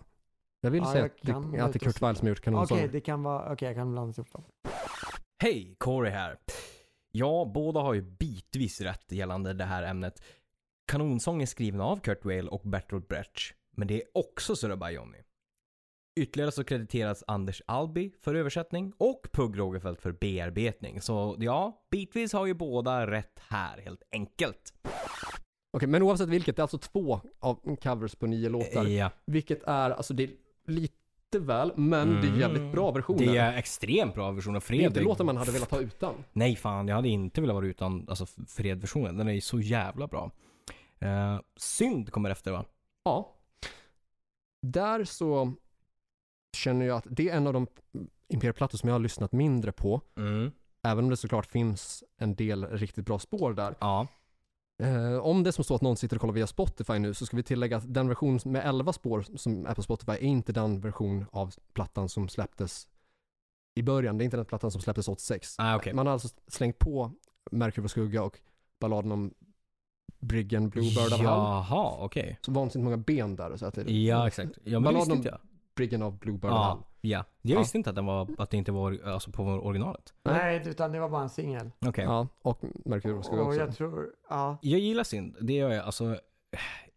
Speaker 1: Jag vill
Speaker 3: Ja,
Speaker 1: säga
Speaker 3: jag
Speaker 1: att
Speaker 3: kan
Speaker 1: det,
Speaker 3: vara
Speaker 1: att det är
Speaker 3: ute och
Speaker 1: Kurt Weill som har gjort
Speaker 3: Okej,
Speaker 1: kanonsång.
Speaker 3: det kan vara... Okej, jag kan blanda ihop dem.
Speaker 2: Hej, Corey här. Ja, båda har ju bitvis rätt gällande det här ämnet. Kanonsång är skriven av Kurt Weill och Bertolt Brecht, men det är också Surabaya Johnny. Ytterligare så krediteras Anders Albi för översättning och Pugh Rogefeldt för bearbetning. Så ja, bitvis har ju båda rätt här helt enkelt.
Speaker 1: Okej, men oavsett vilket, det är alltså två av covers på nio låtar.
Speaker 3: Eh,
Speaker 2: Ja,
Speaker 1: Vilket är, alltså det är lite väl, men det är
Speaker 3: Mm.
Speaker 1: jävligt bra versioner.
Speaker 2: Mm. det är extremt bra versioner.
Speaker 1: Det är inte låtar
Speaker 2: Fredrik.
Speaker 1: man hade velat ha utan.
Speaker 2: Nej fan, jag hade inte velat vara utan alltså, Fred-versionen. Den är ju så jävla bra. Eh, synd kommer efter va?
Speaker 1: Ja. Där så känner jag att det är en av de Imperieplattor som jag har lyssnat mindre på.
Speaker 2: Mm.
Speaker 1: Även om det såklart finns en del riktigt bra spår där.
Speaker 2: Ja.
Speaker 1: Eh, om det är som så att någon sitter och kollar via Spotify nu så ska vi tillägga att den version med 11 spår som är på Spotify är inte den version av plattan som släpptes i början. Det är inte den plattan som släpptes 86.
Speaker 2: Ah, okej.
Speaker 1: Man har alltså slängt på Märker för skugga och balladen om Briggen Bluebird av Hall.
Speaker 2: Jaha, okej.
Speaker 1: Så vansinnigt många ben där. Så att det är
Speaker 2: Ja, Ah, exakt. Ja, men det
Speaker 1: Balladen
Speaker 2: visste
Speaker 1: om
Speaker 2: inte jag.
Speaker 1: Briggen av Bluebird av Hall.
Speaker 2: Ja, ja. Jag
Speaker 1: Ja.
Speaker 2: visste inte att, den var, att det inte var alltså, på originalet.
Speaker 3: Nej, utan det var bara en singel.
Speaker 2: Okej.
Speaker 1: Ja, och Märker för skugga
Speaker 3: Och
Speaker 1: också.
Speaker 3: jag tror, ja.
Speaker 2: Jag gillar synd. Det gör jag. Alltså,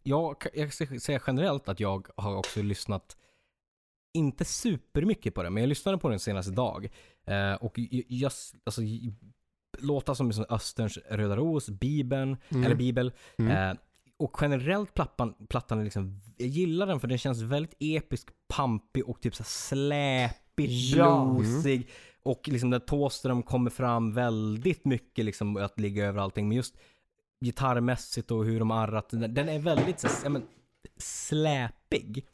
Speaker 2: jag, jag ska säga generellt att jag har också lyssnat, inte supermycket på den, men jag lyssnade på den senast idag. Eh, och jag, jag, alltså, j- låtar som liksom Österns Röda Ros, Bibeln,
Speaker 1: Mm.
Speaker 2: eller Bibel.
Speaker 1: Mm.
Speaker 2: Eh, och generellt plattan, plattan är liksom, jag gillar den för den känns väldigt episk, pampig och typ så här släpigt,
Speaker 3: Ja.
Speaker 2: bluesig. Och liksom där Thåström kommer fram väldigt mycket liksom att ligga över allting. Men just gitarrmässigt och hur de arrat, den den är väldigt så, här, ja, men, släpig.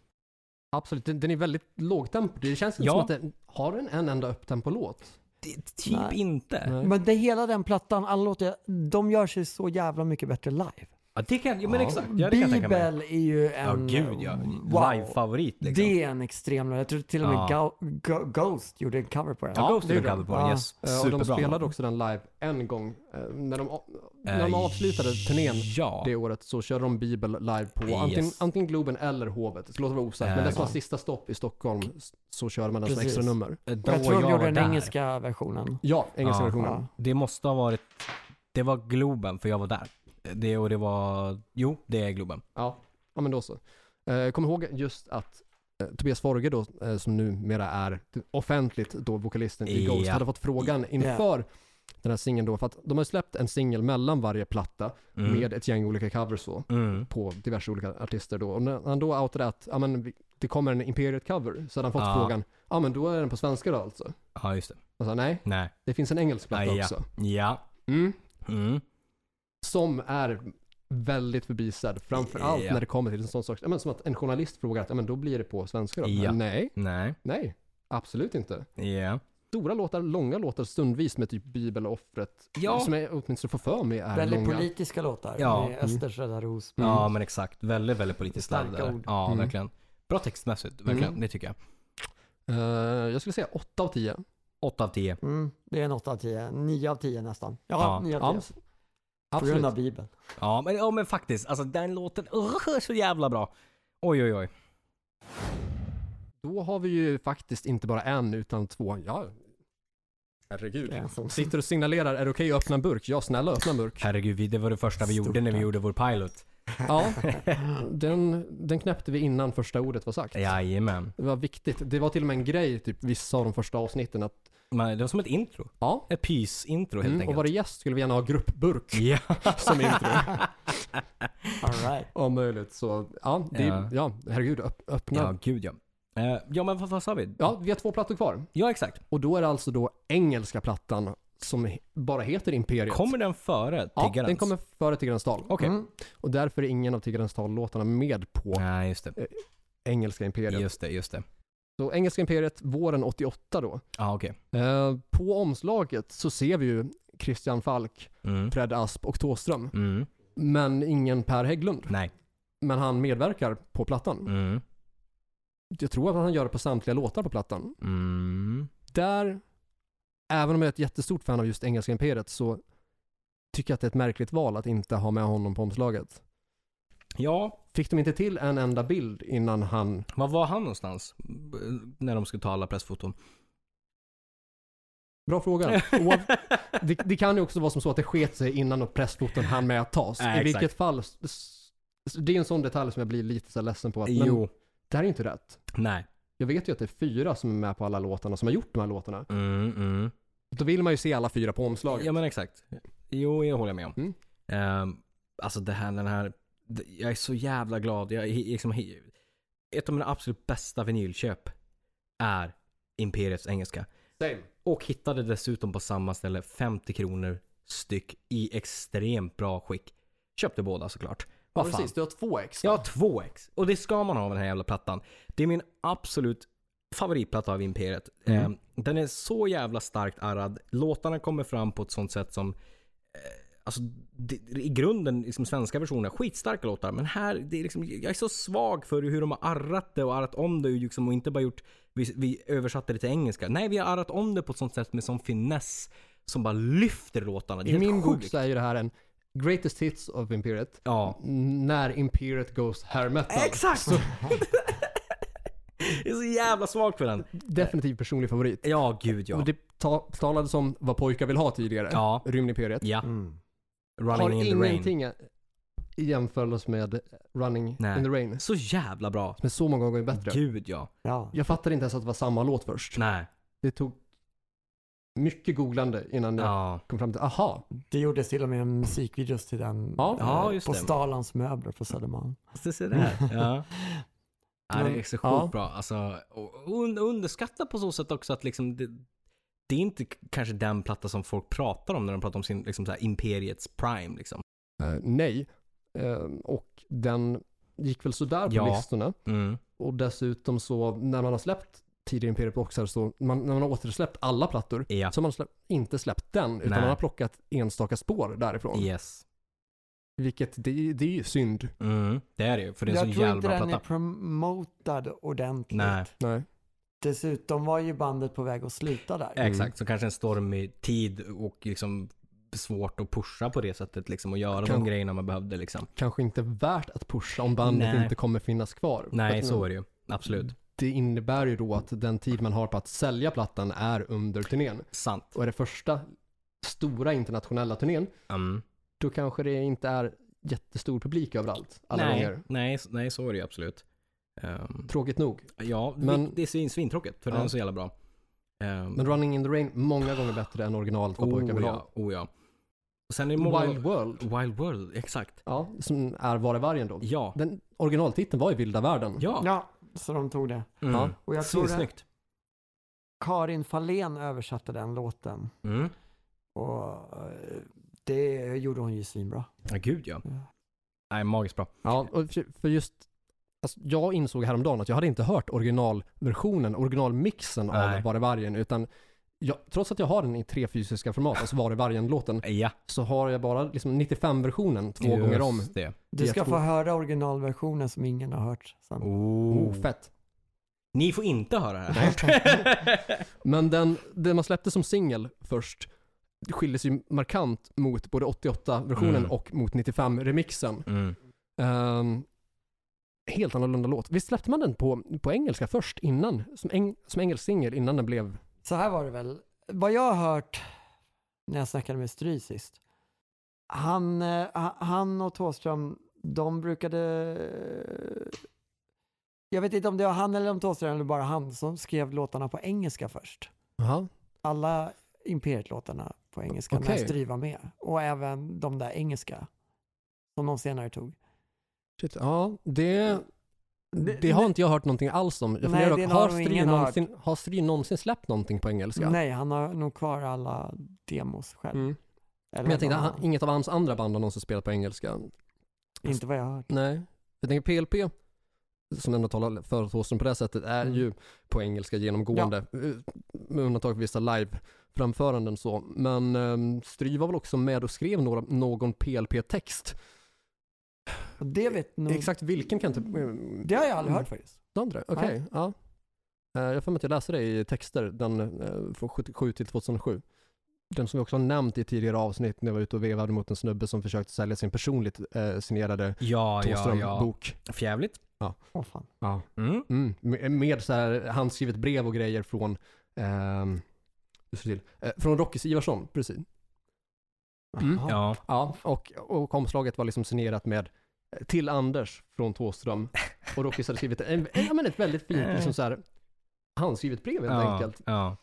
Speaker 1: Absolut, den, den är väldigt lågtempo. Det känns inte
Speaker 2: Ja.
Speaker 1: som att den har den en enda upptempo-låt.
Speaker 2: Det, typ
Speaker 3: Nej.
Speaker 2: inte.
Speaker 1: Nej.
Speaker 3: Men det hela den plattan, alla låtar, de gör sig så jävla mycket bättre live.
Speaker 2: Ja, det kan, ja, men
Speaker 1: Ja.
Speaker 2: exakt. Ja, det kan jag tänka mig.
Speaker 3: Bibel är ju en...
Speaker 2: Ja, gud ja.
Speaker 3: Wow.
Speaker 2: Live-favorit liksom.
Speaker 3: Det är en extrem låt. Jag tror till och med
Speaker 2: Ja.
Speaker 3: Go- Go- Ghost gjorde en cover på den.
Speaker 2: Ja, Ghost
Speaker 1: det
Speaker 2: gjorde
Speaker 1: gjorde
Speaker 2: cover på den.
Speaker 3: de.
Speaker 2: Yes.
Speaker 1: Eh, Och de
Speaker 2: Superbra.
Speaker 1: spelade också den live en gång. eh, När de, när de
Speaker 2: Eh,
Speaker 1: avslutade turnén
Speaker 2: Ja.
Speaker 1: det året så körde de Bibel live på
Speaker 2: Yes.
Speaker 1: antingen, antingen Globen eller Hovet. Det låter vara osagt, men
Speaker 2: Eh,
Speaker 1: det som var
Speaker 3: ja.
Speaker 1: sista stopp i Stockholm s- så körde man den som
Speaker 3: Precis.
Speaker 1: extra nummer.
Speaker 2: Då
Speaker 3: Jag tror de gjorde
Speaker 2: var
Speaker 3: den
Speaker 2: där.
Speaker 3: engelska versionen.
Speaker 1: Ja, engelska
Speaker 2: Ja.
Speaker 1: versionen.
Speaker 3: Ja.
Speaker 2: Det måste ha varit, det var Globen för jag var där. Det och det var, jo det är Globen.
Speaker 1: Ja, ja men då så. Eh, kom ihåg just att eh, Tobias Forge då, eh, som numera är offentligt då vokalisten i Ghost,
Speaker 2: Ja.
Speaker 1: hade fått frågan inför den här singeln då, för att de har släppt en singel mellan varje platta
Speaker 2: Mm.
Speaker 1: med ett gäng olika covers så,
Speaker 2: Mm.
Speaker 1: på diverse olika artister då. Och när han då outade att, ja men vi- det kommer en Imperiet-cover, så hade han fått
Speaker 2: Ja.
Speaker 1: frågan, ja men då är den på svenska då alltså?
Speaker 2: Ja just det.
Speaker 1: Och sa nej,
Speaker 2: Nej.
Speaker 1: det finns en engelsk platta
Speaker 2: Ah, ja.
Speaker 1: också.
Speaker 2: Ja.
Speaker 1: Mm.
Speaker 2: Mm.
Speaker 1: som är väldigt förbisedd. Framförallt
Speaker 2: Ja.
Speaker 1: när det kommer till en sån sak. Ja, men som att en journalist frågar att ja, men då blir det på svenska då?
Speaker 2: Ja.
Speaker 1: Nej,
Speaker 2: Nej.
Speaker 1: nej, absolut inte.
Speaker 2: Ja.
Speaker 1: Stora låtar, långa låtar stundvis med typ Bibel och offret.
Speaker 2: Ja.
Speaker 1: Som jag åtminstone får för mig är
Speaker 3: Väldigt
Speaker 1: långa.
Speaker 3: politiska låtar.
Speaker 2: Ja.
Speaker 3: Med Östers Röda Ros.
Speaker 1: Mm.
Speaker 2: Ja men exakt. Väldigt, väldigt politiskt
Speaker 3: Starka
Speaker 2: laddade.
Speaker 3: ord.
Speaker 2: Ja,
Speaker 1: Mm.
Speaker 2: verkligen. Bra textmässigt, verkligen.
Speaker 1: Mm.
Speaker 2: Det tycker jag.
Speaker 1: Eh, jag skulle säga 8 av 10.
Speaker 2: 8 av 10.
Speaker 3: Mm, det är en 8 av 10. 9 av 10 nästan.
Speaker 2: Ja,
Speaker 3: Ja, 9 av
Speaker 1: Ja,
Speaker 3: 10. På grund av
Speaker 1: absolut.
Speaker 3: Bibeln.
Speaker 2: Ja men, ja men faktiskt, alltså den låten, uh, så jävla bra. Oj oj oj.
Speaker 1: Då har vi ju faktiskt inte bara en utan två. Ja. Herregud.
Speaker 3: Det är en sån-
Speaker 1: Sitter och signalerar, är det okej att öppna en burk? Ja, snälla öppna en burk.
Speaker 2: Herregud, vi- det var det första vi
Speaker 3: Stort
Speaker 2: gjorde när vi
Speaker 3: tack.
Speaker 2: gjorde vår pilot.
Speaker 1: Ja, den, den knäppte vi innan första ordet var sagt.
Speaker 2: Jajamän.
Speaker 1: Det var viktigt. Det var till och med en grej, typ vissa av de första avsnitten att
Speaker 2: Men det var som ett intro.
Speaker 1: ja,
Speaker 2: Ett pys-intro helt
Speaker 1: mm, och
Speaker 2: enkelt.
Speaker 1: var det gäst skulle vi gärna ha gruppburk
Speaker 2: Ja.
Speaker 1: som intro.
Speaker 3: All right.
Speaker 1: Om möjligt. Så ja, det,
Speaker 2: Ja.
Speaker 1: ja. herregud, öpp, öppna.
Speaker 2: Ja,
Speaker 1: Ja.
Speaker 2: gud ja. Eh, ja, men vad, vad sa vi?
Speaker 1: vi har två plattor kvar.
Speaker 2: Ja, exakt.
Speaker 1: Och då är det alltså då engelska plattan som he- bara heter Imperiet.
Speaker 2: Kommer den före
Speaker 1: ja,
Speaker 2: Tiggarens?
Speaker 1: den kommer före Tiggarens tal.
Speaker 2: Okej.
Speaker 3: Mm.
Speaker 1: Och därför är ingen av Tiggarens tal-låtarna med på
Speaker 2: Nej, just det.
Speaker 1: engelska Imperiet.
Speaker 2: Just det, just det.
Speaker 1: Så engelska Imperiet, våren 88 då.
Speaker 2: Ja, okej.
Speaker 1: Eh, på omslaget så ser vi ju Christian Falk,
Speaker 2: Mm.
Speaker 1: Fred Asp och Thåström.
Speaker 2: Mm.
Speaker 1: Men ingen Per Hägglund.
Speaker 2: Nej.
Speaker 1: Men han medverkar på plattan.
Speaker 2: Mm.
Speaker 1: Jag tror att han gör det på samtliga låtar på plattan.
Speaker 2: Mm.
Speaker 1: Där, även om jag är ett jättestort fan av just Engelska Imperiet så tycker jag att det är ett märkligt val att inte ha med honom på omslaget.
Speaker 2: Ja,
Speaker 1: Fick de inte till en enda bild innan han...
Speaker 2: var var han någonstans? B- När de skulle ta alla pressfoton.
Speaker 1: Bra fråga. Oav- det, det kan ju också vara som så att det sket sig innan och pressfoton hann med att tas.
Speaker 2: Nej,
Speaker 1: I vilket
Speaker 2: exakt.
Speaker 1: fall, s- s- det är en sån detalj som jag blir lite så här ledsen på. Att, men
Speaker 2: jo.
Speaker 1: det här är ju inte rätt.
Speaker 2: Nej.
Speaker 1: Jag vet ju att det är fyra som är med på alla låtarna, som har gjort de här låtarna.
Speaker 2: Mm, mm.
Speaker 1: Då vill man ju se alla fyra på omslaget.
Speaker 2: Ja, men exakt. Jo, jag håller med om.
Speaker 1: Mm.
Speaker 2: Ehm, alltså det här, den här. det- Jag är så jävla glad. Jag är he- liksom, he- ett av mina absolut bästa vinylköp är Imperiets engelska.
Speaker 1: Same.
Speaker 2: Och hittade dessutom på samma ställe 50 kronor styck i extremt bra skick. Köpte båda såklart.
Speaker 1: Ja,
Speaker 2: Vad fan.
Speaker 1: precis. Du har två ex.
Speaker 2: Jag har två ex. Och det ska man ha av den här jävla plattan. Det är min absolut favoritplatta av Imperiet. Ehm,
Speaker 1: Mm.
Speaker 2: Eh, Den är så jävla starkt arrad. Låtarna kommer fram på ett sånt sätt som eh, Alltså, det, I grunden, liksom, svenska versioner, skitstarka låtar. Men här, det är liksom, jag är så svag för hur de har arrat det och arrat om det och, liksom, och inte bara gjort, vi, vi översatte det till engelska. Nej, vi har arrat om det på ett sånt sätt med sån finess som bara lyfter låtarna. Det är
Speaker 1: I min
Speaker 2: helt
Speaker 1: bok
Speaker 2: sjukt.
Speaker 1: så är ju det här en greatest hits of Imperiet.
Speaker 2: Ja.
Speaker 1: När Imperiet goes hair metal.
Speaker 2: Exakt! jag är så jävla svag för den.
Speaker 1: Definitiv personlig favorit.
Speaker 2: Ja, gud ja.
Speaker 1: Och det ta- talades om vad pojkar vill ha tidigare.
Speaker 2: Ja.
Speaker 1: Rymdimperiet.
Speaker 2: Ja,
Speaker 3: Mm.
Speaker 2: running
Speaker 1: Har
Speaker 2: in the rain.
Speaker 1: ingenting i jämförelse med Running
Speaker 2: Nej.
Speaker 1: in the rain.
Speaker 2: Så jävla bra.
Speaker 1: Som är så många gånger bättre.
Speaker 2: Gud ja.
Speaker 3: Ja.
Speaker 1: Jag fattade inte ens att det var samma låt först.
Speaker 2: Nej.
Speaker 1: Det tog mycket googlande innan jag
Speaker 2: Ja.
Speaker 1: kom fram till, aha,
Speaker 3: Det gjordes till och med musikvideos till den
Speaker 1: Ja.
Speaker 3: eh,
Speaker 2: Ja, just
Speaker 3: på
Speaker 2: det.
Speaker 3: Stalans möbler på Södermalm.
Speaker 2: Så se där. Ja. ja. Det är så sjukt
Speaker 3: Ja.
Speaker 2: bra. Alltså, och och un- underskatta på så sätt också att liksom det, det är inte k- kanske den platta som folk pratar om när de pratar om sin liksom så här, imperiets prime. Liksom.
Speaker 1: eh, nej. Eh, och den gick väl sådär på
Speaker 2: Ja.
Speaker 1: listorna.
Speaker 2: Mm.
Speaker 1: Och dessutom så, när man har släppt tidigare Imperiet Boxar, så man, när man har återsläppt alla plattor,
Speaker 2: Ja.
Speaker 1: så har man slä- inte släppt den, utan
Speaker 2: Nej.
Speaker 1: man har plockat enstaka spår därifrån.
Speaker 2: Yes.
Speaker 1: Vilket, det, det är ju synd.
Speaker 2: Mm. Det är det ju. För det är en
Speaker 3: Jag
Speaker 2: så
Speaker 3: tror
Speaker 2: jävla
Speaker 3: inte
Speaker 2: bra
Speaker 3: den är
Speaker 2: platta.
Speaker 3: promotad ordentligt.
Speaker 2: Nej.
Speaker 1: Nej.
Speaker 3: Dessutom var ju bandet på väg att sluta där.
Speaker 1: Mm.
Speaker 2: Exakt. Så kanske en stormig tid och liksom svårt att pusha på det sättet liksom och göra
Speaker 1: Kan-
Speaker 2: de grejerna man behövde liksom.
Speaker 1: Kanske inte värt att pusha om bandet
Speaker 2: Nej.
Speaker 1: inte kommer finnas kvar.
Speaker 2: Nej,
Speaker 1: För
Speaker 2: så är det ju. Absolut.
Speaker 1: Det innebär ju då att den tid man har på att sälja plattan är under turnén.
Speaker 2: Sant.
Speaker 1: Och är det första stora internationella turnén,
Speaker 2: Mm.
Speaker 1: då kanske det inte är jättestor publik överallt alla
Speaker 2: nej,
Speaker 1: gånger.
Speaker 2: nej, s- nej, så är det ju absolut. Ehm,
Speaker 1: Tråkigt nog.
Speaker 2: ja,
Speaker 1: Men-
Speaker 2: men, det är svin, svintråkigt för
Speaker 1: Ja.
Speaker 2: den är så jävla bra. Ehm,
Speaker 1: Men Running in the Rain, många gånger bättre än originalet vad pojkar
Speaker 2: oh,
Speaker 1: vill ha.
Speaker 2: ja, oh ja. Och sen är det många,
Speaker 1: Wild World,
Speaker 2: Wild World, exakt.
Speaker 1: ja, som är Var är vargen då?
Speaker 2: Ja.
Speaker 1: Den originaltiteln var ju Vilda världen.
Speaker 2: Ja.
Speaker 3: Ja, så de tog det.
Speaker 2: Mm.
Speaker 1: Ja.
Speaker 3: Och jag tror att
Speaker 2: Svinsnyggt.
Speaker 3: Karin Fahlén översatte den låten.
Speaker 2: Mm.
Speaker 3: Och eh, det gjorde hon ju svinbra.
Speaker 2: Ja, gud ja.
Speaker 3: Ja.
Speaker 2: Nej, magiskt bra.
Speaker 1: Ja, och för- för just alltså, jag insåg häromdagen att jag hade inte hört originalversionen, originalmixen
Speaker 2: Nej.
Speaker 1: av Var är vargen, utan jag, trots att jag har den i tre fysiska format, alltså Var är vargen-låten,
Speaker 2: Eh, Ja,
Speaker 1: så har jag bara liksom 95-versionen två gånger om.
Speaker 2: just det.
Speaker 3: Du
Speaker 1: Jag
Speaker 3: ska få
Speaker 1: tror-
Speaker 3: höra originalversionen som ingen har hört sen.
Speaker 1: Oh,
Speaker 2: Oh.
Speaker 1: fett.
Speaker 2: Ni får inte höra det här.
Speaker 1: Men den, den man släppte som singel först skiljer sig markant mot både 88-versionen
Speaker 2: Mm.
Speaker 1: och mot 95-remixen.
Speaker 2: mm.
Speaker 1: Ehm, helt annorlunda låt. Visst släppte man den på, på engelska först innan? Som, eng, som engelsk singel innan den blev...
Speaker 3: Så här var det väl. Vad jag har hört när jag snackade med Stry sist. Han, eh, ha- han och Thåström, de brukade... eh, Jag vet inte om det var han eller om Thåström eller bara han som skrev låtarna på engelska först.
Speaker 1: Jaha.
Speaker 3: Alla Imperiet-låtarna på engelska när
Speaker 1: Okej.
Speaker 3: Stry var med. Och även de där engelska som de senare tog.
Speaker 1: Shit, ja, det... Det,
Speaker 3: Det-
Speaker 1: har
Speaker 3: det-
Speaker 1: inte jag hört någonting alls om. Jag
Speaker 3: Nej,
Speaker 1: funderar
Speaker 3: det
Speaker 1: dock,
Speaker 3: har
Speaker 1: har
Speaker 3: nog
Speaker 1: Stry
Speaker 3: ingen hört.
Speaker 1: någonsin, har Stry någonsin släppt någonting på engelska?
Speaker 3: Nej, han har nog kvar alla demos själv.
Speaker 1: Mm.
Speaker 3: Eller
Speaker 1: Men jag tänkte,
Speaker 3: någon
Speaker 1: han,
Speaker 3: annan.
Speaker 1: inget av hans andra band har någonsin spelat på engelska.
Speaker 3: Inte vad jag har hört.
Speaker 1: Nej. Jag tänker PLP, som ändå talar för Thåström på det här sättet, är
Speaker 3: Mm.
Speaker 1: ju på engelska genomgående. eh, Med undantag för vissa live-framföranden så. Men um, Stry var väl också med och skrev några, någon PLP-text.
Speaker 3: Och det vet nog...
Speaker 1: Exakt vilken kan jag inte...
Speaker 3: Mm.
Speaker 1: Mm.
Speaker 3: Det har jag aldrig hört faktiskt.
Speaker 1: Andra? Okej, ja. Eh, Jag har för mig att jag läste det i texter, den eh, från 77 till 2007. Den som vi också har nämnt i tidigare avsnitt när jag var ute och vevade mot en snubbe som försökte sälja sin personligt eh, signerade
Speaker 2: Ja, ja, ja.
Speaker 1: Thåström-bok.
Speaker 2: Fjävligt.
Speaker 3: Åh fan.
Speaker 2: Mm.
Speaker 1: Mm, med- med så här handskrivet brev och grejer från, ehm, hur ska jag till, eh, från Rocky Ivarsson, precis. Mm.
Speaker 3: Jaha.
Speaker 2: Ja.
Speaker 1: Ja, och, och omslaget var liksom signerat med eh, till Anders från Thåström. Och Rocky hade skrivit en, en, ja, men ett väldigt fint liksom så här, handskrivet brev helt
Speaker 2: Eh. ja.
Speaker 1: enkelt.
Speaker 2: Ja.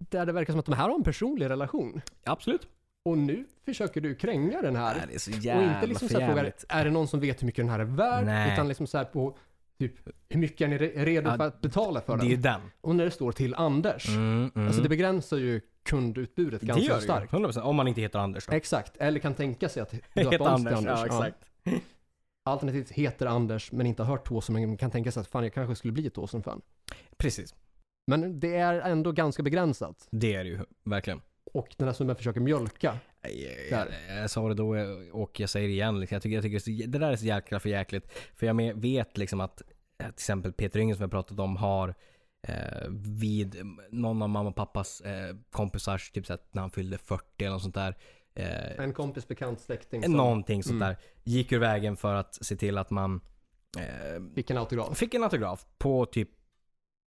Speaker 1: Där det verkar som att de här har en personlig relation.
Speaker 2: Absolut.
Speaker 1: Och nu försöker du kränga den här.
Speaker 2: det är så
Speaker 1: och inte liksom så här frågar, är det någon som vet hur mycket den här är värd?
Speaker 2: Nej.
Speaker 1: Utan liksom så här på, typ, hur mycket är ni re- redo
Speaker 2: Ja,
Speaker 1: för att betala för
Speaker 2: Det
Speaker 1: den?
Speaker 2: är ju den.
Speaker 1: Och när det står till Anders.
Speaker 2: Mm, mm.
Speaker 1: Alltså det begränsar ju kundutbudet ganska
Speaker 2: gör det ju.
Speaker 1: starkt.
Speaker 2: 100%. Om man inte heter Anders då.
Speaker 1: Exakt, eller kan tänka sig att
Speaker 2: Heter
Speaker 1: döpa om sig
Speaker 2: Anders,
Speaker 1: till Anders.
Speaker 2: ja exakt.
Speaker 1: Alternativt heter Anders men inte har hört Thåström men kan tänka sig att fan jag kanske skulle bli ett Thåström-fan.
Speaker 2: Precis.
Speaker 1: Men det är ändå ganska begränsat.
Speaker 2: Det är det ju verkligen.
Speaker 1: Och den här snubben försöker mjölka
Speaker 2: Jag, jag sa det då och jag säger det igen. Liksom. Jag tycker, jag tycker det, är så, det där är så jäkla för jäkligt. För jag med- vet liksom att eh, till exempel Peter Yngve som jag pratat om har eh, vid någon av mamma och pappas eh, kompisars, typ så här, när han fyllde 40 eller något sånt där. Eh,
Speaker 1: En kompis, bekant, släkting
Speaker 2: Eh,
Speaker 1: som
Speaker 2: Någonting sånt
Speaker 1: Mm.
Speaker 2: där. Gick ur vägen för att se till att man eh,
Speaker 1: fick en autograf.
Speaker 2: fick en autograf på typ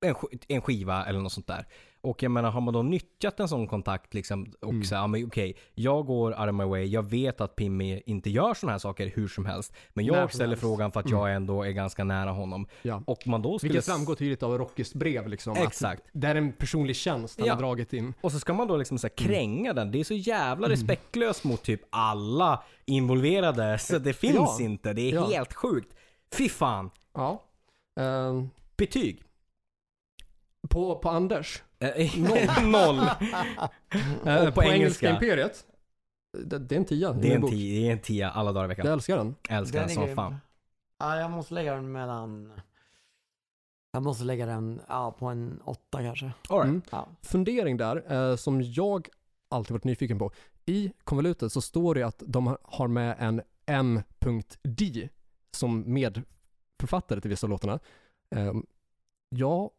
Speaker 2: en, sk- en skiva eller något sånt där. Och jag menar, har man då nyttjat en sån kontakt liksom och
Speaker 1: Mm.
Speaker 2: så här, ja, men okej, jag går out of my way, jag vet att Pimmy inte gör såna här saker hur som helst. Men
Speaker 1: När som
Speaker 2: jag ställer
Speaker 1: helst. Mm.
Speaker 2: frågan för att jag ändå är ganska nära honom.
Speaker 1: Ja.
Speaker 2: Och man då skulle...
Speaker 1: Vilket framgår tydligt av Rockys brev liksom. att
Speaker 2: Exakt.
Speaker 1: Det är en personlig tjänst han
Speaker 2: Ja.
Speaker 1: har dragit in.
Speaker 2: Och så ska man då liksom så här
Speaker 1: Mm.
Speaker 2: kränga den. Det är så jävla respektlöst mot typ alla involverade så det finns
Speaker 1: Ja.
Speaker 2: inte. Det är
Speaker 1: Ja.
Speaker 2: helt sjukt. Fy fan.
Speaker 1: Ja. Ehm,
Speaker 2: Betyg?
Speaker 1: på, på Anders,
Speaker 2: Noll. Noll. Eh,
Speaker 1: och på, engelska imperiet. Det, det är en tia.
Speaker 2: Det är, en
Speaker 1: bok.
Speaker 2: tia, det är en tia alla dagar i veckan.
Speaker 1: Jag älskar den.
Speaker 2: Jag älskar den,
Speaker 3: är
Speaker 2: som
Speaker 3: grym.
Speaker 2: fan.
Speaker 3: Ja, jag måste lägga den mellan... Jag måste lägga den ja, på en åtta kanske.
Speaker 2: All right.
Speaker 1: Mm.
Speaker 3: Ja.
Speaker 1: fundering där eh, som jag alltid varit nyfiken på. I konvolutet så står det att de har med en M.D som medförfattare till vissa av låtarna. Eh, jag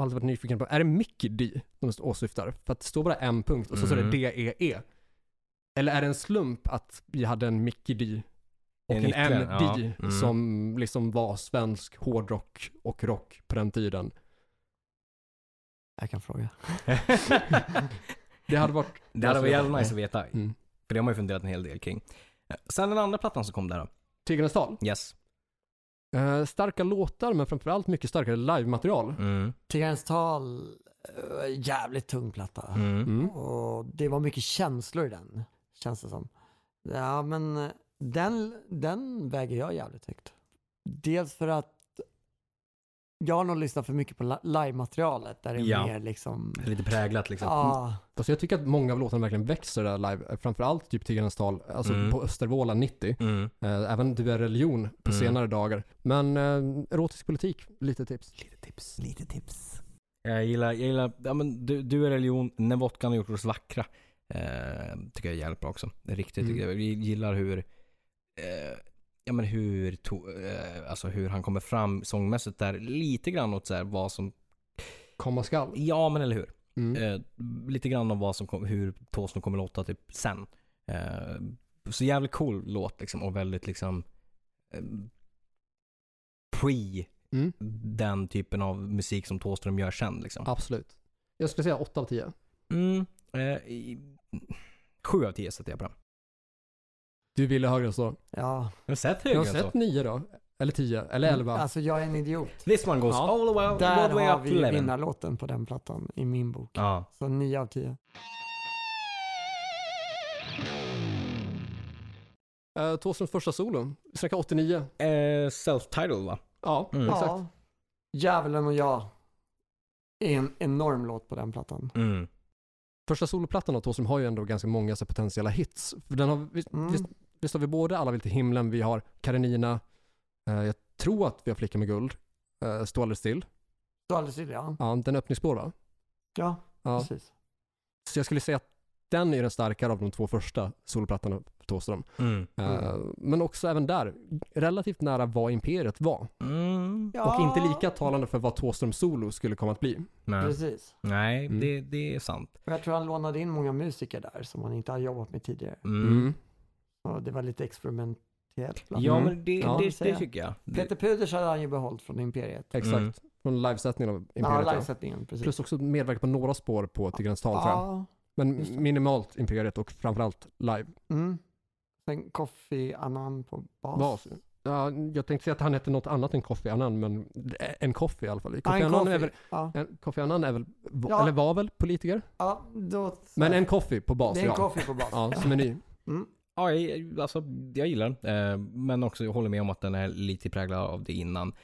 Speaker 1: har alltid varit nyfiken på, är det Mickey D de åsyftar? För att det står bara M. punkt och så står det
Speaker 2: Mm.
Speaker 1: D-E-E. Eller är det en slump att vi hade en Mickey D och
Speaker 2: En
Speaker 1: en,
Speaker 2: ytterligare,
Speaker 1: M.D
Speaker 2: ja. Mm.
Speaker 1: som liksom var svensk hårdrock och rock på den tiden?
Speaker 3: Jag kan fråga.
Speaker 1: Det hade varit...
Speaker 2: det hade varit jävla nice att veta.
Speaker 1: Mm.
Speaker 2: För det har man ju funderat en hel del kring. Eh, Sen den andra plattan som kom där då.
Speaker 1: Tiggarnas tal.
Speaker 2: Yes.
Speaker 1: Eh, starka låtar men framförallt mycket starkare live-material.
Speaker 2: Mm.
Speaker 3: Tiggarens tal, eh, jävligt tung platta.
Speaker 2: Mm.
Speaker 1: Mm.
Speaker 3: Och det var mycket känslor i den, känns det som. Ja, men eh, den, den väger jag jävligt högt. Dels för att jag har nog lyssnat för mycket på li- live-materialet där det är
Speaker 2: Ja.
Speaker 3: mer liksom...
Speaker 2: Lite präglat liksom.
Speaker 3: Ja,
Speaker 1: Alltså jag tycker att många av låtarna verkligen växer där live. Eh, Framförallt typ Tiggarnas tal, alltså
Speaker 2: Mm.
Speaker 1: på Östervåla 90.
Speaker 2: Mm.
Speaker 1: Eh, även Du är religion på
Speaker 2: Mm.
Speaker 1: senare dagar. Men eh, erotisk politik, lite tips.
Speaker 2: Lite tips. Lite tips. Jag gillar, jag gillar ja, men du, du är religion, när vodkan har gjort oss vackra. Eh, tycker jag är jävligt bra också. Det är Riktigt,
Speaker 1: Mm.
Speaker 2: tycker jag. jag gillar hur, eh, ja men hur, to, eh, alltså hur han kommer fram sångmässigt där. Lite grann åt så här vad som,
Speaker 1: Komma skall.
Speaker 2: ja men eller hur.
Speaker 1: Mm.
Speaker 2: Eh, lite grann om vad som kom, hur Tåsen kommer låta typ sen. Eh, så jävligt cool låt liksom och väldigt liksom eh, pre
Speaker 1: Mm.
Speaker 2: den typen av musik som Tåström gör sen liksom.
Speaker 1: Absolut. Jag skulle säga 8 av 10.
Speaker 2: Mm, eh, i, sju av tio sätter jag på den.
Speaker 1: Du ville högre än så.
Speaker 3: ja.
Speaker 2: Jag har sett
Speaker 1: Jag har
Speaker 2: högre än
Speaker 1: sett
Speaker 2: så.
Speaker 1: 9 då. Eller 10. Eller
Speaker 2: Mm.
Speaker 1: 11.
Speaker 3: Alltså jag är en idiot.
Speaker 2: This one goes
Speaker 1: Ja.
Speaker 2: all the way, all
Speaker 3: Där
Speaker 2: the way
Speaker 3: har
Speaker 2: up
Speaker 3: vi
Speaker 2: to
Speaker 3: ju
Speaker 2: 11.
Speaker 3: vinnarlåten på den plattan i min bok.
Speaker 2: Ja.
Speaker 3: Så 9 av 10.
Speaker 1: Eh, Thåströms första solo. Vi snackar 89.
Speaker 2: Eh, Self-titled va?
Speaker 1: Ja,
Speaker 2: Mm.
Speaker 1: exakt.
Speaker 3: Ja. Djävulen och jag är en enorm låt på den plattan.
Speaker 2: Mm.
Speaker 1: Första soloplattan av Thåström har ju ändå ganska många så här, potentiella hits. För den har, visst,
Speaker 3: Mm.
Speaker 1: visst, visst har vi både Alla vill till himlen, vi har Karenina, eh, jag tror att vi har Flicka med guld, eh, Stå aldrig still.
Speaker 3: Du har alldeles rätt, ja.
Speaker 1: Ja, den är öppningsspår va?
Speaker 3: Ja,
Speaker 1: Ja.
Speaker 3: precis.
Speaker 1: Så jag skulle säga att den är den starkare av de två första soloplattorna för Thåström.
Speaker 2: Mm.
Speaker 1: Eh,
Speaker 3: Mm.
Speaker 1: Men också även där, relativt nära vad Imperiet var.
Speaker 2: Mm.
Speaker 3: Ja,
Speaker 1: Och inte lika talande för vad Thåströms solo skulle komma att bli.
Speaker 2: Nej,
Speaker 3: Precis.
Speaker 2: Nej
Speaker 1: Mm.
Speaker 2: det, det är sant.
Speaker 3: Och jag tror han lånade in många musiker där som han inte har jobbat med tidigare.
Speaker 2: Mm.
Speaker 3: Och det var lite experimentellt. bland
Speaker 2: Ja,
Speaker 1: Mm.
Speaker 2: men det,
Speaker 1: Ja,
Speaker 2: det, det
Speaker 3: säger jag.
Speaker 2: tycker jag. Det,
Speaker 3: Peter Puders hade han ju behållit från Imperiet.
Speaker 1: Exakt.
Speaker 2: Mm.
Speaker 1: Från livesättningen av
Speaker 3: Ja,
Speaker 1: Imperiet. ja.
Speaker 3: livesättningen. Precis.
Speaker 1: Plus också medverka på några spår på Tigrarnas tal tror jag.
Speaker 3: ja. Just det.
Speaker 1: Men minimalt Imperiet och framförallt live.
Speaker 3: Mm. Sen Kofi Annan på bas.
Speaker 1: Bas. Ja, jag tänkte säga att han heter något annat än Kofi Annan, men eh, en Kofi i alla fall.
Speaker 3: Ja,
Speaker 1: Kofi
Speaker 3: en
Speaker 1: Annan är
Speaker 3: Kofi.
Speaker 1: väl,
Speaker 3: Ja.
Speaker 1: en, Kofi Annan är väl, va-
Speaker 3: Ja.
Speaker 1: eller var väl politiker?
Speaker 3: ja, då...
Speaker 1: Men en Kofi på bas,
Speaker 3: Det är en
Speaker 1: ja.
Speaker 3: Kofi på bas.
Speaker 1: Ja, som är ny.
Speaker 2: ja, jag, alltså, jag gillar den. Eh, men också, jag håller med om att den är lite präglad av det innan.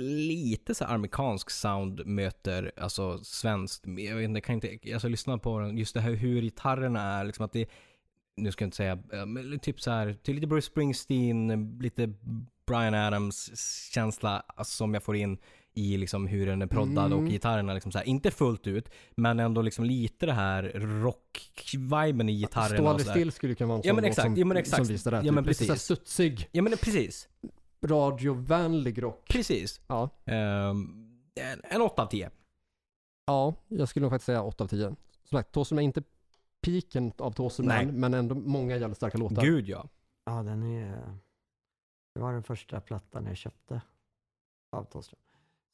Speaker 2: Lite så här amerikansk sound möter alltså svenskt. Men Jag vet inte, jag kan inte, alltså lyssna på den, just det här hur gitarrerna är, liksom att det, nu ska jag inte säga, eh, men typ så här, till lite Bruce Springsteen, lite Brian Adams känsla alltså, som jag får in i liksom hur den är proddad
Speaker 1: Mm.
Speaker 2: och gitarrerna liksom så här, inte fullt ut, men ändå liksom lite det här rock viben i gitarren
Speaker 1: Stå
Speaker 2: och
Speaker 1: aldrig
Speaker 2: sådär.
Speaker 1: still skulle ju kunna vara en
Speaker 2: Ja,
Speaker 1: sån
Speaker 2: men
Speaker 1: låt
Speaker 2: exakt,
Speaker 1: som,
Speaker 2: ja, men exakt.
Speaker 1: som visar det här. typ
Speaker 2: Ja, men
Speaker 1: Lite såhär
Speaker 2: precis.
Speaker 1: studsig,
Speaker 2: Ja men precis.
Speaker 1: radiovänlig rock.
Speaker 2: Precis.
Speaker 1: Ja.
Speaker 2: Ehm, en, en 8 av 10.
Speaker 1: ja, jag skulle nog faktiskt säga 8 av 10. Som sagt, Tåström är inte piken av Tåström
Speaker 2: Nej.
Speaker 1: än, men ändå många jävligt starka låtar.
Speaker 2: Gud ja.
Speaker 3: Ja, den är... Det var den första plattan jag köpte av Thåström.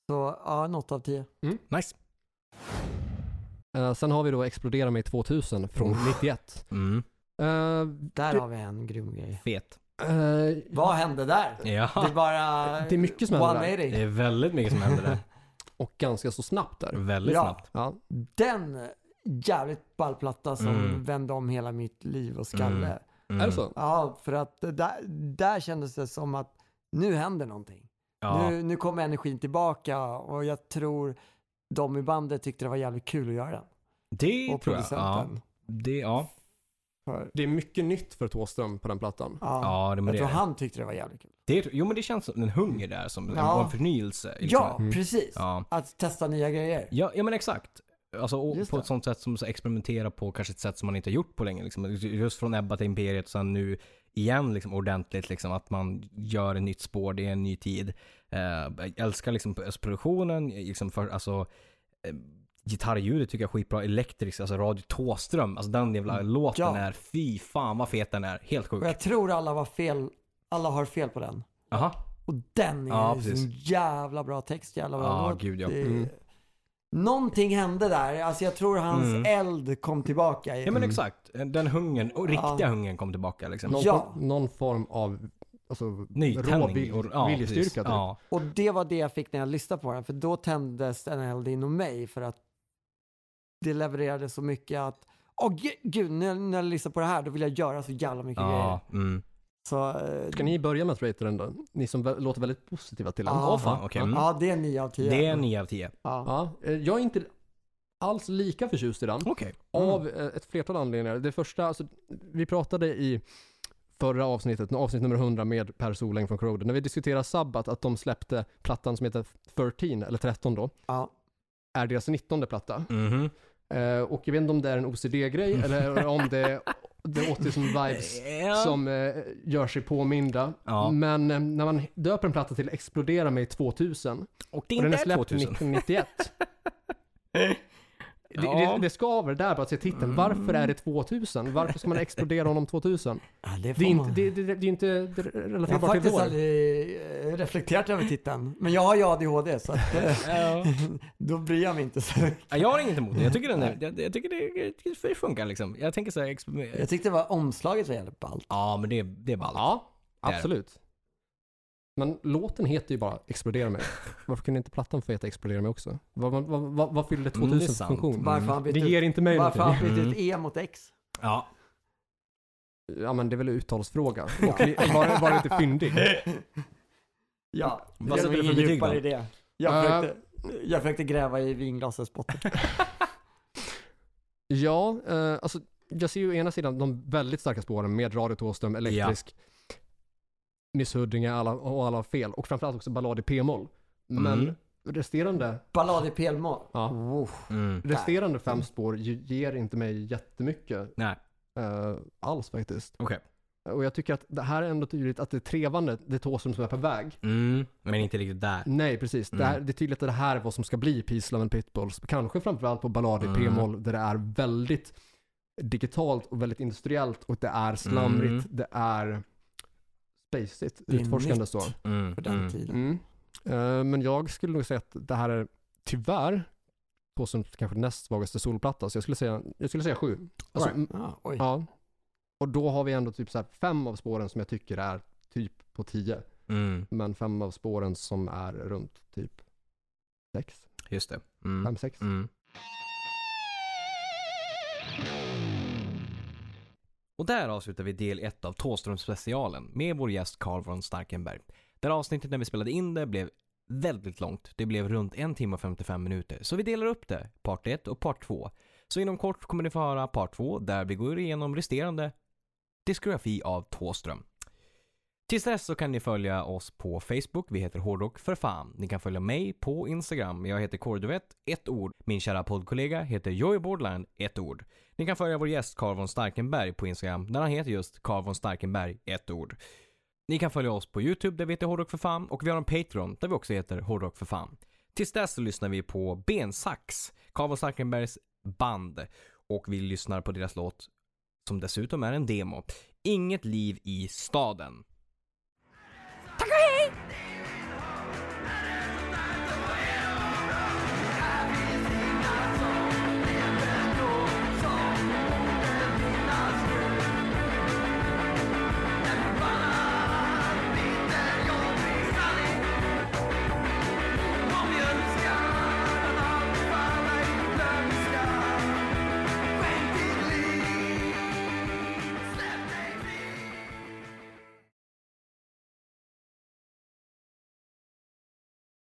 Speaker 3: Så ja, en åtta av tio.
Speaker 2: Nice.
Speaker 1: Eh, sen har vi då Explodera mig 2000 från 91.
Speaker 2: Mm.
Speaker 1: Eh,
Speaker 3: Där
Speaker 1: Det-
Speaker 3: har vi en grym grej.
Speaker 2: Fet.
Speaker 1: eh,
Speaker 3: Vad hände där? Det är
Speaker 2: Ja.
Speaker 3: bara...
Speaker 1: Det är mycket som händer där.
Speaker 3: 180.
Speaker 2: Det är väldigt mycket som händer där.
Speaker 1: och ganska så snabbt där.
Speaker 2: Väldigt
Speaker 3: Ja.
Speaker 2: snabbt.
Speaker 1: Ja,
Speaker 3: Den jävligt ballplatta som
Speaker 2: Mm.
Speaker 3: vände om hela mitt liv och skalle.
Speaker 2: Mm. Mm.
Speaker 1: är det så?
Speaker 3: Ja, för att det där, där kändes det som att nu händer någonting.
Speaker 2: Ja.
Speaker 3: Nu, nu kommer energin tillbaka och jag tror de i bandet tyckte det var jävligt kul att göra den.
Speaker 2: Det
Speaker 3: Och
Speaker 2: tror jag. Ja.
Speaker 3: producenten.
Speaker 2: Det, ja.
Speaker 3: För,
Speaker 1: Det är mycket nytt för Tåström på den plattan.
Speaker 3: ja.
Speaker 2: ja, det men
Speaker 3: jag
Speaker 2: det,
Speaker 3: tror
Speaker 2: är
Speaker 3: han tyckte det var jävligt kul.
Speaker 2: det. är- Jo men det känns som en hunger där, som
Speaker 3: Ja.
Speaker 2: en, en förnyelse. liksom.
Speaker 3: Ja, precis.
Speaker 2: ja.
Speaker 3: Att testa nya grejer.
Speaker 2: Ja, ja men exakt. Alltså och
Speaker 3: Just
Speaker 2: på
Speaker 3: det.
Speaker 2: ett sånt sätt som så experimentera på kanske ett sätt som man inte har gjort på länge. Liksom. Just från Ebba till Imperiet och sen nu igen liksom, ordentligt. Liksom, att man gör ett nytt spår, det är en ny tid. Eh, jag älskar liksom, alltså, produktionen, liksom, för, alltså, eh, gitarrljudet tycker jag är skitbra. Elektrisk, alltså Radio Tåström, alltså den jävla låten
Speaker 3: Mm. Ja.
Speaker 2: är, fy fan vad fet den är. Helt sjuk.
Speaker 3: Och jag tror alla var fel, alla har fel på den.
Speaker 2: Aha.
Speaker 3: Och den är
Speaker 2: Ja,
Speaker 3: en
Speaker 2: precis.
Speaker 3: sån jävla bra text, jävla bra
Speaker 2: Ja,
Speaker 3: låt.
Speaker 2: gud, ja.
Speaker 3: Det-
Speaker 1: Mm.
Speaker 3: Någonting hände där. Alltså jag tror hans
Speaker 2: Mm.
Speaker 3: eld kom tillbaka. I,
Speaker 2: Ja men exakt, den hungern, och riktiga
Speaker 3: Mm. Ja.
Speaker 2: hungern kom tillbaka liksom.
Speaker 1: Någon,
Speaker 3: Ja.
Speaker 1: form, någon form av alltså, rå
Speaker 2: Nytändning.
Speaker 1: vil-
Speaker 2: och- ja, precis.
Speaker 1: viljestyrka. typ.
Speaker 2: Ja.
Speaker 3: Och det var det jag fick när jag lyssnade på den. För då tändes en eld inom mig för att det levererade så mycket att Åh ge- gud, nu, när jag lyssnar på det här då vill jag göra så jävla mycket grejer.
Speaker 2: Ja, mm.
Speaker 3: Så, eh,
Speaker 1: Ska ni börja med att rata den då? Ni som vä- låter väldigt positiva till den.
Speaker 3: Ja.
Speaker 2: Åh, fan, okej. Mm.
Speaker 3: Ja, det är 9 av 10.
Speaker 2: Det är 9 av 10.
Speaker 3: ja.
Speaker 1: Ja, eh, jag är inte alls lika förtjust i den.
Speaker 2: Okej.
Speaker 3: Mm.
Speaker 1: Av eh, ett flertal anledningar. Det första, alltså, vi pratade i förra avsnittet, avsnitt nummer 100 med Per Soläng från Corroder, när vi diskuterade Sabbat, att de släppte plattan som heter 13, eller 13 då,
Speaker 3: Ja.
Speaker 1: är deras 19 platta.
Speaker 2: Mhm.
Speaker 1: Eh, och jag vet inte om det är en OCD-grej eller om det, det åter som vibes
Speaker 2: Ja.
Speaker 1: som eh, gör sig påminda.
Speaker 2: Ja.
Speaker 1: Men eh, när man döper en platta till Explodera mig 2000
Speaker 2: Och det
Speaker 1: och den är
Speaker 2: inte
Speaker 1: släppt
Speaker 2: 2000.
Speaker 1: 1991. Det,
Speaker 2: Ja.
Speaker 1: det, det skaver där bara att se titeln. Varför är det 2000? Varför ska man explodera honom 2000?
Speaker 3: Ja, det, får
Speaker 1: Det är inte,
Speaker 3: man-
Speaker 1: det, det, det, det är inte
Speaker 3: jag har
Speaker 1: relaterbart till
Speaker 3: faktiskt
Speaker 1: vår.
Speaker 3: aldrig eh, reflekterat över titeln. Men jag har ju ADHD så att, eh,
Speaker 2: Ja.
Speaker 3: då bryr jag mig inte så mycket.
Speaker 2: Ja, Jag har inget emot det. Jag tycker, den är, jag, jag tycker det, det funkar liksom. Jag tänker så här, exper-
Speaker 3: Jag tyckte det var omslaget var jävligt ballt.
Speaker 2: Ja, men det, det är ballt.
Speaker 1: Ja, absolut. Men låten heter ju bara Explodera mig. Varför kunde inte plattan få heta Explodera mig också? Vad, vad, vad, vad, vad fyllde
Speaker 2: Mm, det är
Speaker 1: 2000 för
Speaker 2: sant.
Speaker 1: funktion?
Speaker 3: Varför
Speaker 1: Det
Speaker 3: han bytte
Speaker 2: typ-
Speaker 3: ut,
Speaker 1: ger inte mig
Speaker 3: varför han
Speaker 1: någonting.
Speaker 3: bytte ut
Speaker 2: Mm.
Speaker 3: E mot X.
Speaker 2: Ja.
Speaker 1: Ja men det är väl en uttalsfråga. Och vi- var, var lite fyndig.
Speaker 3: Ja,
Speaker 2: Vad
Speaker 3: jag
Speaker 2: sätter
Speaker 3: är
Speaker 2: du för
Speaker 3: ingen
Speaker 2: betyg
Speaker 3: djupare
Speaker 2: då?
Speaker 3: i det. Jag
Speaker 1: Äh.
Speaker 3: försökte, jag försökte gräva i vinglasets botten.
Speaker 1: Ja, eh, alltså jag ser ju å ena sidan de väldigt starka spåren med Radio Thåström, Elektrisk, Miss Huddinge alla, och alla har fel. Och framförallt också Ballad i p-moll. Men
Speaker 2: Mm.
Speaker 1: resterande,
Speaker 3: Ballad i pelmål.
Speaker 1: Ja.
Speaker 3: Wow.
Speaker 2: Mm.
Speaker 1: resterande fem spår ju- ger inte mig jättemycket
Speaker 2: Nej,
Speaker 1: eh, alls faktiskt.
Speaker 2: okej.
Speaker 1: Och jag tycker att det här är ändå tydligt att det är trevande, det är Thåström som är på väg.
Speaker 2: Mm. Men inte riktigt där.
Speaker 1: Nej, precis. Det,
Speaker 2: Mm.
Speaker 1: här, det är tydligt att det här är vad som ska bli Peace, Love and Pitbulls. Kanske framförallt på Ballad i
Speaker 2: Mm.
Speaker 1: p-moll där det är väldigt digitalt och väldigt industriellt och det är slamrigt,
Speaker 2: Mm.
Speaker 1: det är spacigt,
Speaker 3: Det är
Speaker 1: utforskande
Speaker 3: nytt
Speaker 1: så.
Speaker 2: Mm.
Speaker 3: För den
Speaker 2: mm.
Speaker 3: tiden.
Speaker 1: Mm. Eh, men jag skulle nog säga att det här är tyvärr Thåströms kanske näst svagaste solplatta, så jag skulle säga, jag skulle säga sju. Alltså,
Speaker 2: Alright.
Speaker 3: Ja, oj.
Speaker 1: Ja. Och då har vi ändå typ så här fem av spåren som jag tycker är typ på tio.
Speaker 2: Mm.
Speaker 1: Men fem av spåren som är runt typ sex,
Speaker 2: Just det. Mm.
Speaker 1: fem, sex.
Speaker 2: Mm. Och där avslutar vi del 1 av Thåström-specialen med vår gäst Carl von Starkenberg. Där avsnittet när vi spelade in det blev väldigt långt. Det blev runt 1 timme och 55 minuter. Så vi delar upp det, part 1 och part 2. Så inom kort kommer ni få höra part 2 där vi går igenom resterande diskografi av Thåström. Tills dess så kan ni följa oss på Facebook. Vi heter Hårdrock för fan. Ni kan följa mig på Instagram. Jag heter Kårduvett, ett ord. Min kära poddkollega heter Joey Bordland, ett ord. Ni kan följa vår gäst Carl von Starkenberg på Instagram där han heter just Carl von Starkenberg, ett ord. Ni kan följa oss på YouTube där vi heter Hårdrock för fan och vi har en Patreon där vi också heter Hårdrock för fan. Tills dess så lyssnar vi på Bensax, Carl von Starkenbergs band och vi lyssnar på deras låt som dessutom är en demo. Inget liv i staden.